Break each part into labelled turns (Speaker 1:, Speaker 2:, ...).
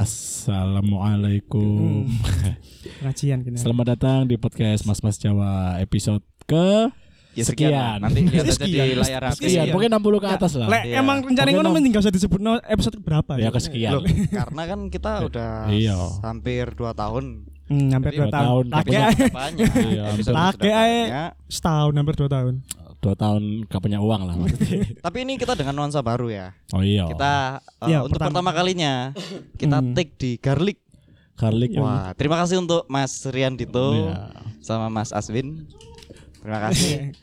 Speaker 1: Assalamualaikum.
Speaker 2: Hmm.
Speaker 3: Pengajian kena.
Speaker 1: Selamat datang di podcast Mas Mas Jawa episode ke Iya,
Speaker 2: Ya sekian. lah.
Speaker 1: Sekian.
Speaker 2: Nanti lihat aja
Speaker 3: Sekian.
Speaker 2: di layar Iya. HP.
Speaker 1: sekian,
Speaker 3: Sekian.
Speaker 1: mungkin 60 ke atas lah.
Speaker 3: Ya, Lek
Speaker 2: Iya.
Speaker 3: emang rencana
Speaker 1: Oke,
Speaker 3: ngono
Speaker 1: Nom.
Speaker 3: mending gak usah disebut no episode berapa
Speaker 1: Ya kesekian.
Speaker 2: Loh, karena kan kita udah
Speaker 1: Iya.
Speaker 2: hampir 2 tahun.
Speaker 3: Hmm, hampir
Speaker 1: Dua
Speaker 3: 2 tahun.
Speaker 1: tahun.
Speaker 3: Take
Speaker 1: Kapan-
Speaker 3: ae.
Speaker 2: Banyak.
Speaker 1: Iya,
Speaker 2: episode
Speaker 3: hampir.
Speaker 2: sudah
Speaker 3: Pakai aja.
Speaker 2: banyak.
Speaker 3: setahun hampir 2 tahun.
Speaker 1: Dua tahun gak punya uang lah. berarti.
Speaker 2: Tapi ini kita dengan nuansa baru ya.
Speaker 1: oh iya.
Speaker 2: Kita uh,
Speaker 3: Iya,
Speaker 2: untuk
Speaker 3: pertama.
Speaker 2: pertama, kalinya kita
Speaker 3: Hmm.
Speaker 2: take di Garlic.
Speaker 1: Karlik.
Speaker 2: Wah, terima kasih untuk Mas Rian Dito
Speaker 1: Iya.
Speaker 2: sama Mas Aswin. Terima kasih.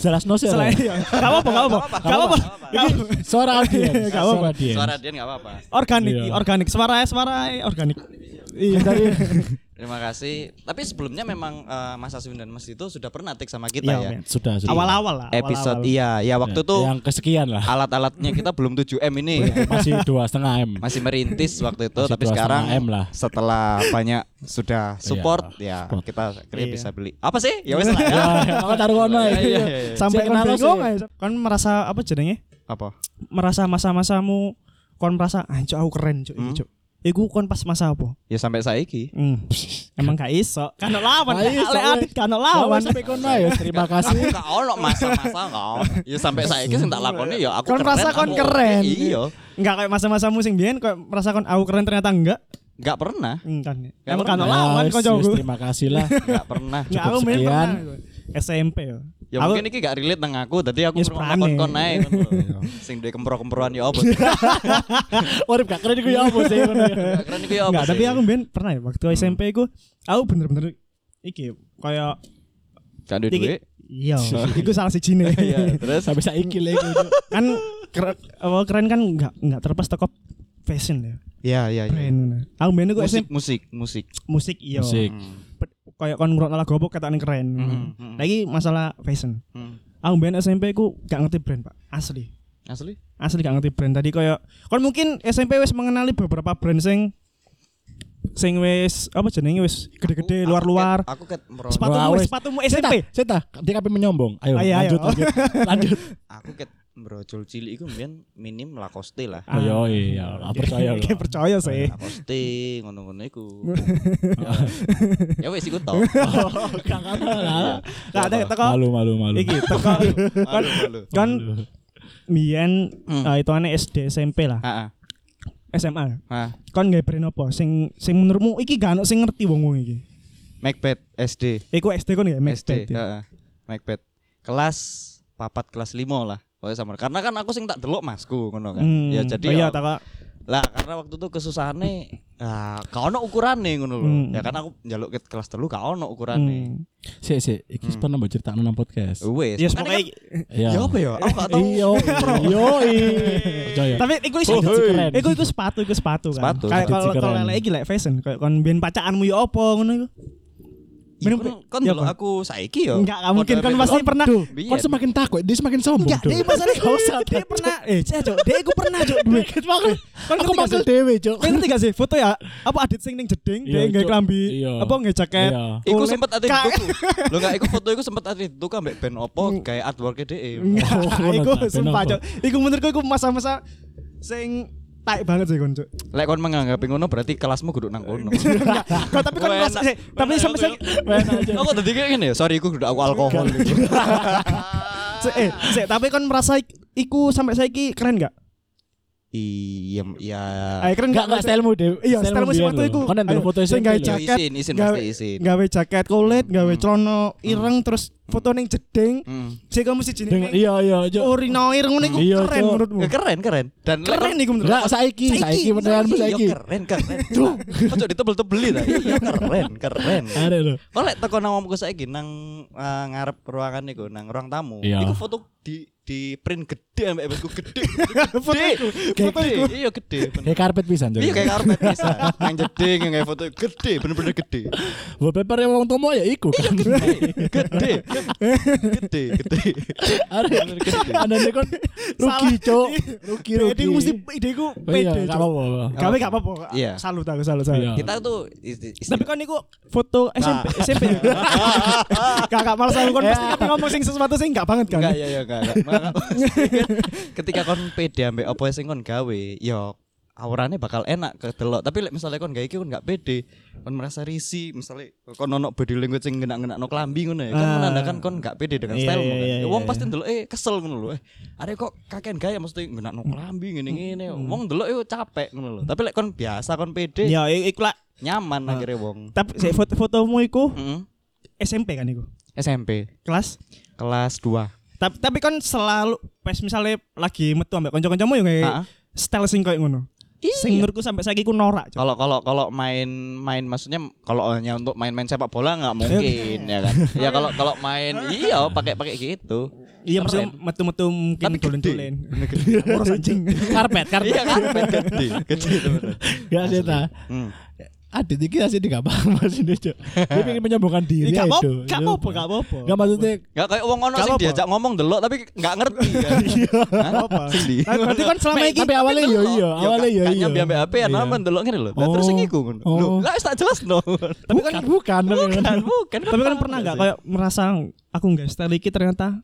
Speaker 1: Jelas no sih.
Speaker 3: Selain
Speaker 1: Ray.
Speaker 3: ya. Gak apa-apa, gak apa-apa. Gak apa-apa. Gak apa-apa.
Speaker 1: Suara audiens.
Speaker 3: Gak apa-apa.
Speaker 1: Suara audiens.
Speaker 2: Suara Dian nggak apa-apa.
Speaker 3: Organik,
Speaker 1: Iya.
Speaker 3: organik. Suara suara organik. Iya.
Speaker 2: Terima kasih. Tapi sebelumnya memang uh, Mas Aswin dan Mas Dito sudah pernah take sama kita
Speaker 3: Iya,
Speaker 2: ya.
Speaker 3: men.
Speaker 1: Sudah sudah.
Speaker 3: Awal-awal lah.
Speaker 2: Episode
Speaker 3: awal-awal.
Speaker 2: iya, ya waktu itu
Speaker 1: yang kesekian lah.
Speaker 2: alat-alatnya kita belum 7M ini.
Speaker 3: Oh, iya,
Speaker 1: Masih dua setengah m.
Speaker 2: masih merintis waktu itu
Speaker 1: Masih
Speaker 2: tapi
Speaker 1: 2,5
Speaker 2: sekarang
Speaker 1: M lah.
Speaker 2: setelah banyak sudah support ya
Speaker 1: support.
Speaker 2: kita akhirnya
Speaker 3: Iya.
Speaker 2: bisa beli apa sih ya wes lah ya.
Speaker 1: Ya, aku taruh kono ya.
Speaker 2: Iya, iya, iya.
Speaker 3: Sampai
Speaker 1: Saya
Speaker 3: kan
Speaker 1: kenal lo
Speaker 3: bingung
Speaker 1: sih.
Speaker 3: aja. Kan merasa apa jenenge?
Speaker 2: apa
Speaker 3: Merasa masa-masamu kon merasa ah cuk, aku keren cuk iki cuk. Iku kon pas masa apa?
Speaker 2: ya sampai saiki
Speaker 3: Hmm. Emang gak iso. Kan ada lawan,
Speaker 1: Gak iso,
Speaker 3: lek
Speaker 1: weh.
Speaker 3: adit kan ada
Speaker 1: Ya,
Speaker 3: lawan.
Speaker 1: wes, sampai kono ya. Terima kasih.
Speaker 2: aku gak ono masa-masa gak ono. ya sampai saiki sing tak lakoni ya aku
Speaker 3: Kon
Speaker 2: keren
Speaker 3: merasa kon
Speaker 2: aku
Speaker 3: keren.
Speaker 2: oke. iya
Speaker 3: Enggak kayak masa-masa musim biyen kayak merasa kon aku keren ternyata enggak.
Speaker 2: gak pernah
Speaker 3: Hmm, kan.
Speaker 2: Ya,
Speaker 3: Emang kan
Speaker 1: Ya,
Speaker 3: lawan
Speaker 1: wes,
Speaker 3: kok
Speaker 1: wes,
Speaker 3: jauh.
Speaker 1: Terima kasih lah.
Speaker 2: gak pernah
Speaker 3: Enggak aku main
Speaker 1: sekian.
Speaker 3: pernah itu. SMP ya.
Speaker 2: ya
Speaker 3: Aku-
Speaker 2: mungkin iki gak relate nang aku tadi aku
Speaker 3: Yes, Iya. prane.
Speaker 2: ngomong kon kon ae ngono lho. sing duwe kempro-kemproan ya apa
Speaker 1: Urip gak keren iku ya apa sih kono ya.
Speaker 2: Gak keren iku ya apa
Speaker 3: Enggak, tapi
Speaker 2: sih?
Speaker 3: aku biyen pernah ya waktu
Speaker 2: Hmm.
Speaker 3: SMP iku aku bener-bener iki kayak
Speaker 2: gak duwe
Speaker 3: iki-
Speaker 2: duit
Speaker 3: Iya, iku salah siji nih.
Speaker 2: ya terus
Speaker 1: Sampai saiki lek.
Speaker 3: kan keren, awal keren kan enggak enggak terlepas teko fashion ya.
Speaker 2: ya ya ya
Speaker 3: Brand. Aku biyen iku SMP
Speaker 2: musik musik musik
Speaker 3: musik iya.
Speaker 1: Musik.
Speaker 2: Hmm.
Speaker 3: Pe- Kayak kon ngrungokno lagu apa ketane keren.
Speaker 2: Mm-mm.
Speaker 3: Lagi masalah fashion.
Speaker 2: Hmm.
Speaker 3: Aku biyen SMP iku gak ngerti brand, Pak. Asli.
Speaker 2: asli
Speaker 3: asli gak ngerti brand tadi koyo kon mungkin SMP wis mengenali beberapa brand sing sing wis apa jenenge wis gede-gede
Speaker 2: Aku-
Speaker 3: luar-luar
Speaker 2: aku ket aku
Speaker 1: Wah,
Speaker 2: ket-
Speaker 3: sepatumu
Speaker 1: wes.
Speaker 3: sepatumu SMP
Speaker 1: Seta, dia kape menyombong. Ayo,
Speaker 3: Ayo, ayo.
Speaker 1: lanjut, lanjut, lanjut.
Speaker 2: aku ket brojol cilik iku mbiyen minim Lacoste lah.
Speaker 3: Ah.
Speaker 1: Ayo, iya, aku percaya Iya. loh.
Speaker 3: Oke, percaya sih
Speaker 2: Lacoste ngono-ngono iku. ya wis iku to.
Speaker 3: gak ada teko
Speaker 1: Iya, Malu, malu, malu.
Speaker 3: iki teko
Speaker 2: Malu, malu.
Speaker 3: kan
Speaker 1: Malu.
Speaker 3: biyen
Speaker 2: Hmm.
Speaker 3: eh, itu aneh SD SMP lah
Speaker 2: Heeh.
Speaker 3: SMA
Speaker 2: Hah,
Speaker 3: kon gak brand apa sing sing menurutmu iki gak ono sing ngerti wong wong iki
Speaker 2: Macbeth SD.
Speaker 3: iku SD kon gak
Speaker 2: SD,
Speaker 3: Macbeth ya
Speaker 2: heeh. Macbeth. Kelas papat kelas limo lah. Pokoknya sama. Karena kan aku sing tak delok masku ngono kan.
Speaker 3: Hmm,
Speaker 2: Ya jadi
Speaker 3: oh iya
Speaker 2: ya-
Speaker 3: teko
Speaker 2: lah karena waktu itu kesusahannya ah gak ono ukurane ngono lho.
Speaker 3: Hmm.
Speaker 2: Ya kan aku njaluk ke kelas telu gak ono ukurane.
Speaker 3: Hmm.
Speaker 1: Si,
Speaker 3: Ya,
Speaker 1: si, iki pernah mbok cerita nang podcast. Iya.
Speaker 2: Wes.
Speaker 3: Yes, pokoknya
Speaker 2: makanya kan- Uh. Ya apa ya? Aku gak tahu.
Speaker 3: Iya,
Speaker 1: Iyo, iyo, Percaya.
Speaker 3: Tapi iku iso
Speaker 1: Oh, hei.
Speaker 3: keren. Iku iku sepatu, iku sepatu kan.
Speaker 2: Sepatu,
Speaker 3: Kayak
Speaker 1: sepatu
Speaker 3: kalau
Speaker 1: keren.
Speaker 3: kalau lele iki lek fashion, kayak kon ben pacakanmu yo apa ngono iku.
Speaker 2: Ya,
Speaker 3: Minum
Speaker 2: kan-
Speaker 3: pe-
Speaker 2: kan
Speaker 3: ya,
Speaker 2: dulu
Speaker 3: Pak.
Speaker 2: aku saiki yo.
Speaker 3: Enggak, enggak mungkin kan
Speaker 2: Model
Speaker 3: pasti
Speaker 2: metode-
Speaker 3: pernah.
Speaker 2: Biyen.
Speaker 1: Kok semakin takut, dia semakin sombong.
Speaker 3: Enggak, dia
Speaker 1: Dul.
Speaker 3: masalah
Speaker 1: Gak usah,
Speaker 3: dia
Speaker 1: Dul.
Speaker 3: pernah eh cok, dia iku pernah cok duwe.
Speaker 1: Aku-
Speaker 3: Kan
Speaker 1: Aku
Speaker 3: ngerti gak
Speaker 1: masuk
Speaker 3: sih?
Speaker 1: dewe, Cok.
Speaker 3: Kan ngerti gak sih foto ya apa adit sing ning jeding,
Speaker 1: Iya,
Speaker 3: dia nggak
Speaker 1: Cok.
Speaker 3: klambi,
Speaker 1: Iya.
Speaker 3: apa nggak jaket.
Speaker 1: Iya.
Speaker 2: Iku
Speaker 3: kulit.
Speaker 2: sempet ada di
Speaker 3: Ka-
Speaker 2: tuku. Lo enggak iku foto iku sempet ada di tuku ambek band opo
Speaker 3: Mm.
Speaker 2: kayak artwork DE.
Speaker 3: Enggak,
Speaker 1: Oh, ngono
Speaker 3: iku
Speaker 1: ta, ben
Speaker 3: sumpah
Speaker 1: apa?
Speaker 3: cok. Iku menurutku iku masa-masa sing taik banget sih kon cok.
Speaker 2: Lek kon menganggap ngono berarti kelasmu kudu nang kono.
Speaker 3: Enggak, Nah, kok tapi kon
Speaker 2: Wah,
Speaker 3: merasa
Speaker 2: enak.
Speaker 3: sih, tapi
Speaker 2: Enak,
Speaker 3: sampe
Speaker 2: enak, Aku tadi kayak gini ya, sorry iku kudu aku alkohol.
Speaker 3: Se- eh, se- tapi kan merasa ik- iku sampai saiki keren gak?
Speaker 2: Iya, iya.
Speaker 3: Eh, keren
Speaker 1: Enggak,
Speaker 3: gak?
Speaker 1: enggak stylemu, Dew.
Speaker 3: Iya, stylemu
Speaker 1: biyen
Speaker 3: sepatu
Speaker 1: lho.
Speaker 3: iku.
Speaker 1: Kan yang dulu
Speaker 3: Ayo,
Speaker 1: foto Hmm.
Speaker 3: sing
Speaker 1: SMP
Speaker 3: gawe
Speaker 1: lho.
Speaker 3: jaket,
Speaker 2: Isin, isin
Speaker 3: gawe-
Speaker 2: pasti isin.
Speaker 3: Gawe jaket kulit, gawe celana ireng terus foto ning jeding.
Speaker 2: Hmm.
Speaker 3: Sik kamu siji
Speaker 1: Dengan-
Speaker 3: ning
Speaker 1: Iya, iya, Cok.
Speaker 3: urinoir ngono iku
Speaker 1: Iya,
Speaker 3: keren
Speaker 1: Cok.
Speaker 3: menurutmu.
Speaker 2: Ya, Keren, keren. Dan lek
Speaker 3: Keren
Speaker 2: kon-
Speaker 3: iku menurutku.
Speaker 1: Enggak, saiki, saiki beneran Bu, saiki.
Speaker 2: Iya, keren, keren. Kok ditebel-tebeli ta? Iya, keren, keren.
Speaker 1: Ada lho.
Speaker 2: Kok lek teko nang omku saiki nang eh, ngarep ruangan niku nang ruang tamu.
Speaker 1: Iya.
Speaker 2: Iku foto di di print gede ambek ebetku gede.
Speaker 3: Foto iku, foto
Speaker 2: Gede.
Speaker 3: iku.
Speaker 2: Iya gede. bener.
Speaker 1: Kayak karpet pisan, Cok.
Speaker 2: Iya kayak karpet bisa. Nang jeding yang kayak foto gede bener-bener gede.
Speaker 1: Wallpaper yang wong tomo ya iku kan.
Speaker 2: Gede. Gede, gede.
Speaker 1: Ada ada nih kan rugi cok, rugi rugi.
Speaker 3: Ide iku mesti ide iku
Speaker 1: Oh iya,
Speaker 3: pede.
Speaker 1: nggak
Speaker 3: Cok.
Speaker 1: apa-apa.
Speaker 3: Gawe gak apa-apa.
Speaker 2: Iya.
Speaker 3: Salut aku, salut
Speaker 1: Iya.
Speaker 3: salut.
Speaker 2: Kita tuh isti- isti-
Speaker 3: Tapi kan iku foto
Speaker 2: Nah.
Speaker 3: SMP SMP ya. Kakak malas aku kan pasti kan ngomong sing sesuatu sing gak banget kan.
Speaker 2: Iya. enggak kan ya ya enggak. enggak. Maka- Ketika kon pede ambek apa sing kon gawe, yo aurane bakal enak kedelok tapi lek misalnya kon gak iki kon gak pede kon merasa risih misalnya kon ono body language sing ngenak-ngenak no klambi ngono ya kan
Speaker 3: Ah.
Speaker 2: menandakan kon gak pede dengan
Speaker 3: Iya,
Speaker 2: style
Speaker 3: iya,
Speaker 2: kan
Speaker 3: iya,
Speaker 2: Ya,
Speaker 3: iya,
Speaker 2: wong
Speaker 3: iya.
Speaker 2: pasti ndelok eh kesel ngono lho eh ada kok kakean gaya mesti ngenak no klambi ngene ngene
Speaker 3: Hmm.
Speaker 2: wong ndelok eh capek ngono lho tapi lek kon biasa kon pede
Speaker 3: Ya
Speaker 1: Iya,
Speaker 3: i- iku lah.
Speaker 2: nyaman
Speaker 3: Ah.
Speaker 2: akhirnya wong
Speaker 3: Tapi sik, foto fotomu iku
Speaker 2: Mm.
Speaker 3: SMP kan iku.
Speaker 2: SMP
Speaker 3: Kelas.
Speaker 2: kelas 2
Speaker 3: Tapi tapi kan selalu pas misalnya lagi metu ambek kanca-kancamu ya kayak
Speaker 2: Ah.
Speaker 3: style sing koyo ngono.
Speaker 1: Iya.
Speaker 3: Sing menurutku sampai saiki ku norak. Cok.
Speaker 2: Kalau kalau kalau main-main maksudnya kalau hanya untuk main-main sepak bola nggak mungkin ya kan. Ya kalau kalau main iya pakai pakai gitu.
Speaker 3: Iya maksudnya metu-metu mungkin
Speaker 2: Tapi gede.
Speaker 3: dolen-dolen. Boros anjing.
Speaker 1: Karpet, karpet.
Speaker 2: Iya kan gede gede bener.
Speaker 1: Gak sih ta.
Speaker 2: Hmm.
Speaker 1: Adit iki asli gak paham mas ini cok. Dia pengen menyambungkan diri. aja,
Speaker 3: Iya, Gak apa,
Speaker 1: Cok.
Speaker 3: gak apa, gak apa.
Speaker 1: Gak maksudnya
Speaker 2: Nggak kayak wong ono
Speaker 3: Nggak
Speaker 2: sing
Speaker 3: apa-apa.
Speaker 2: diajak ngomong delok tapi nggak ngerti kan.
Speaker 3: Iya.
Speaker 2: Hah? Iya,
Speaker 3: apa.
Speaker 2: Sing di.
Speaker 3: Nah, Berarti kan selama
Speaker 1: Tapi-
Speaker 3: ini
Speaker 1: tapi awalnya yo
Speaker 3: iya,
Speaker 1: yo, awalnya iya, yo yo.
Speaker 2: Kayaknya ambil HP ya nama delok ngene lho. Lah terus sing iku ngono.
Speaker 1: Oh.
Speaker 2: Lho, lah wis tak jelas no.
Speaker 1: tapi kan bukan,
Speaker 2: Bukan, bukan. Iya
Speaker 3: Tapi kan pernah nggak kayak merasa aku nggak style iki ternyata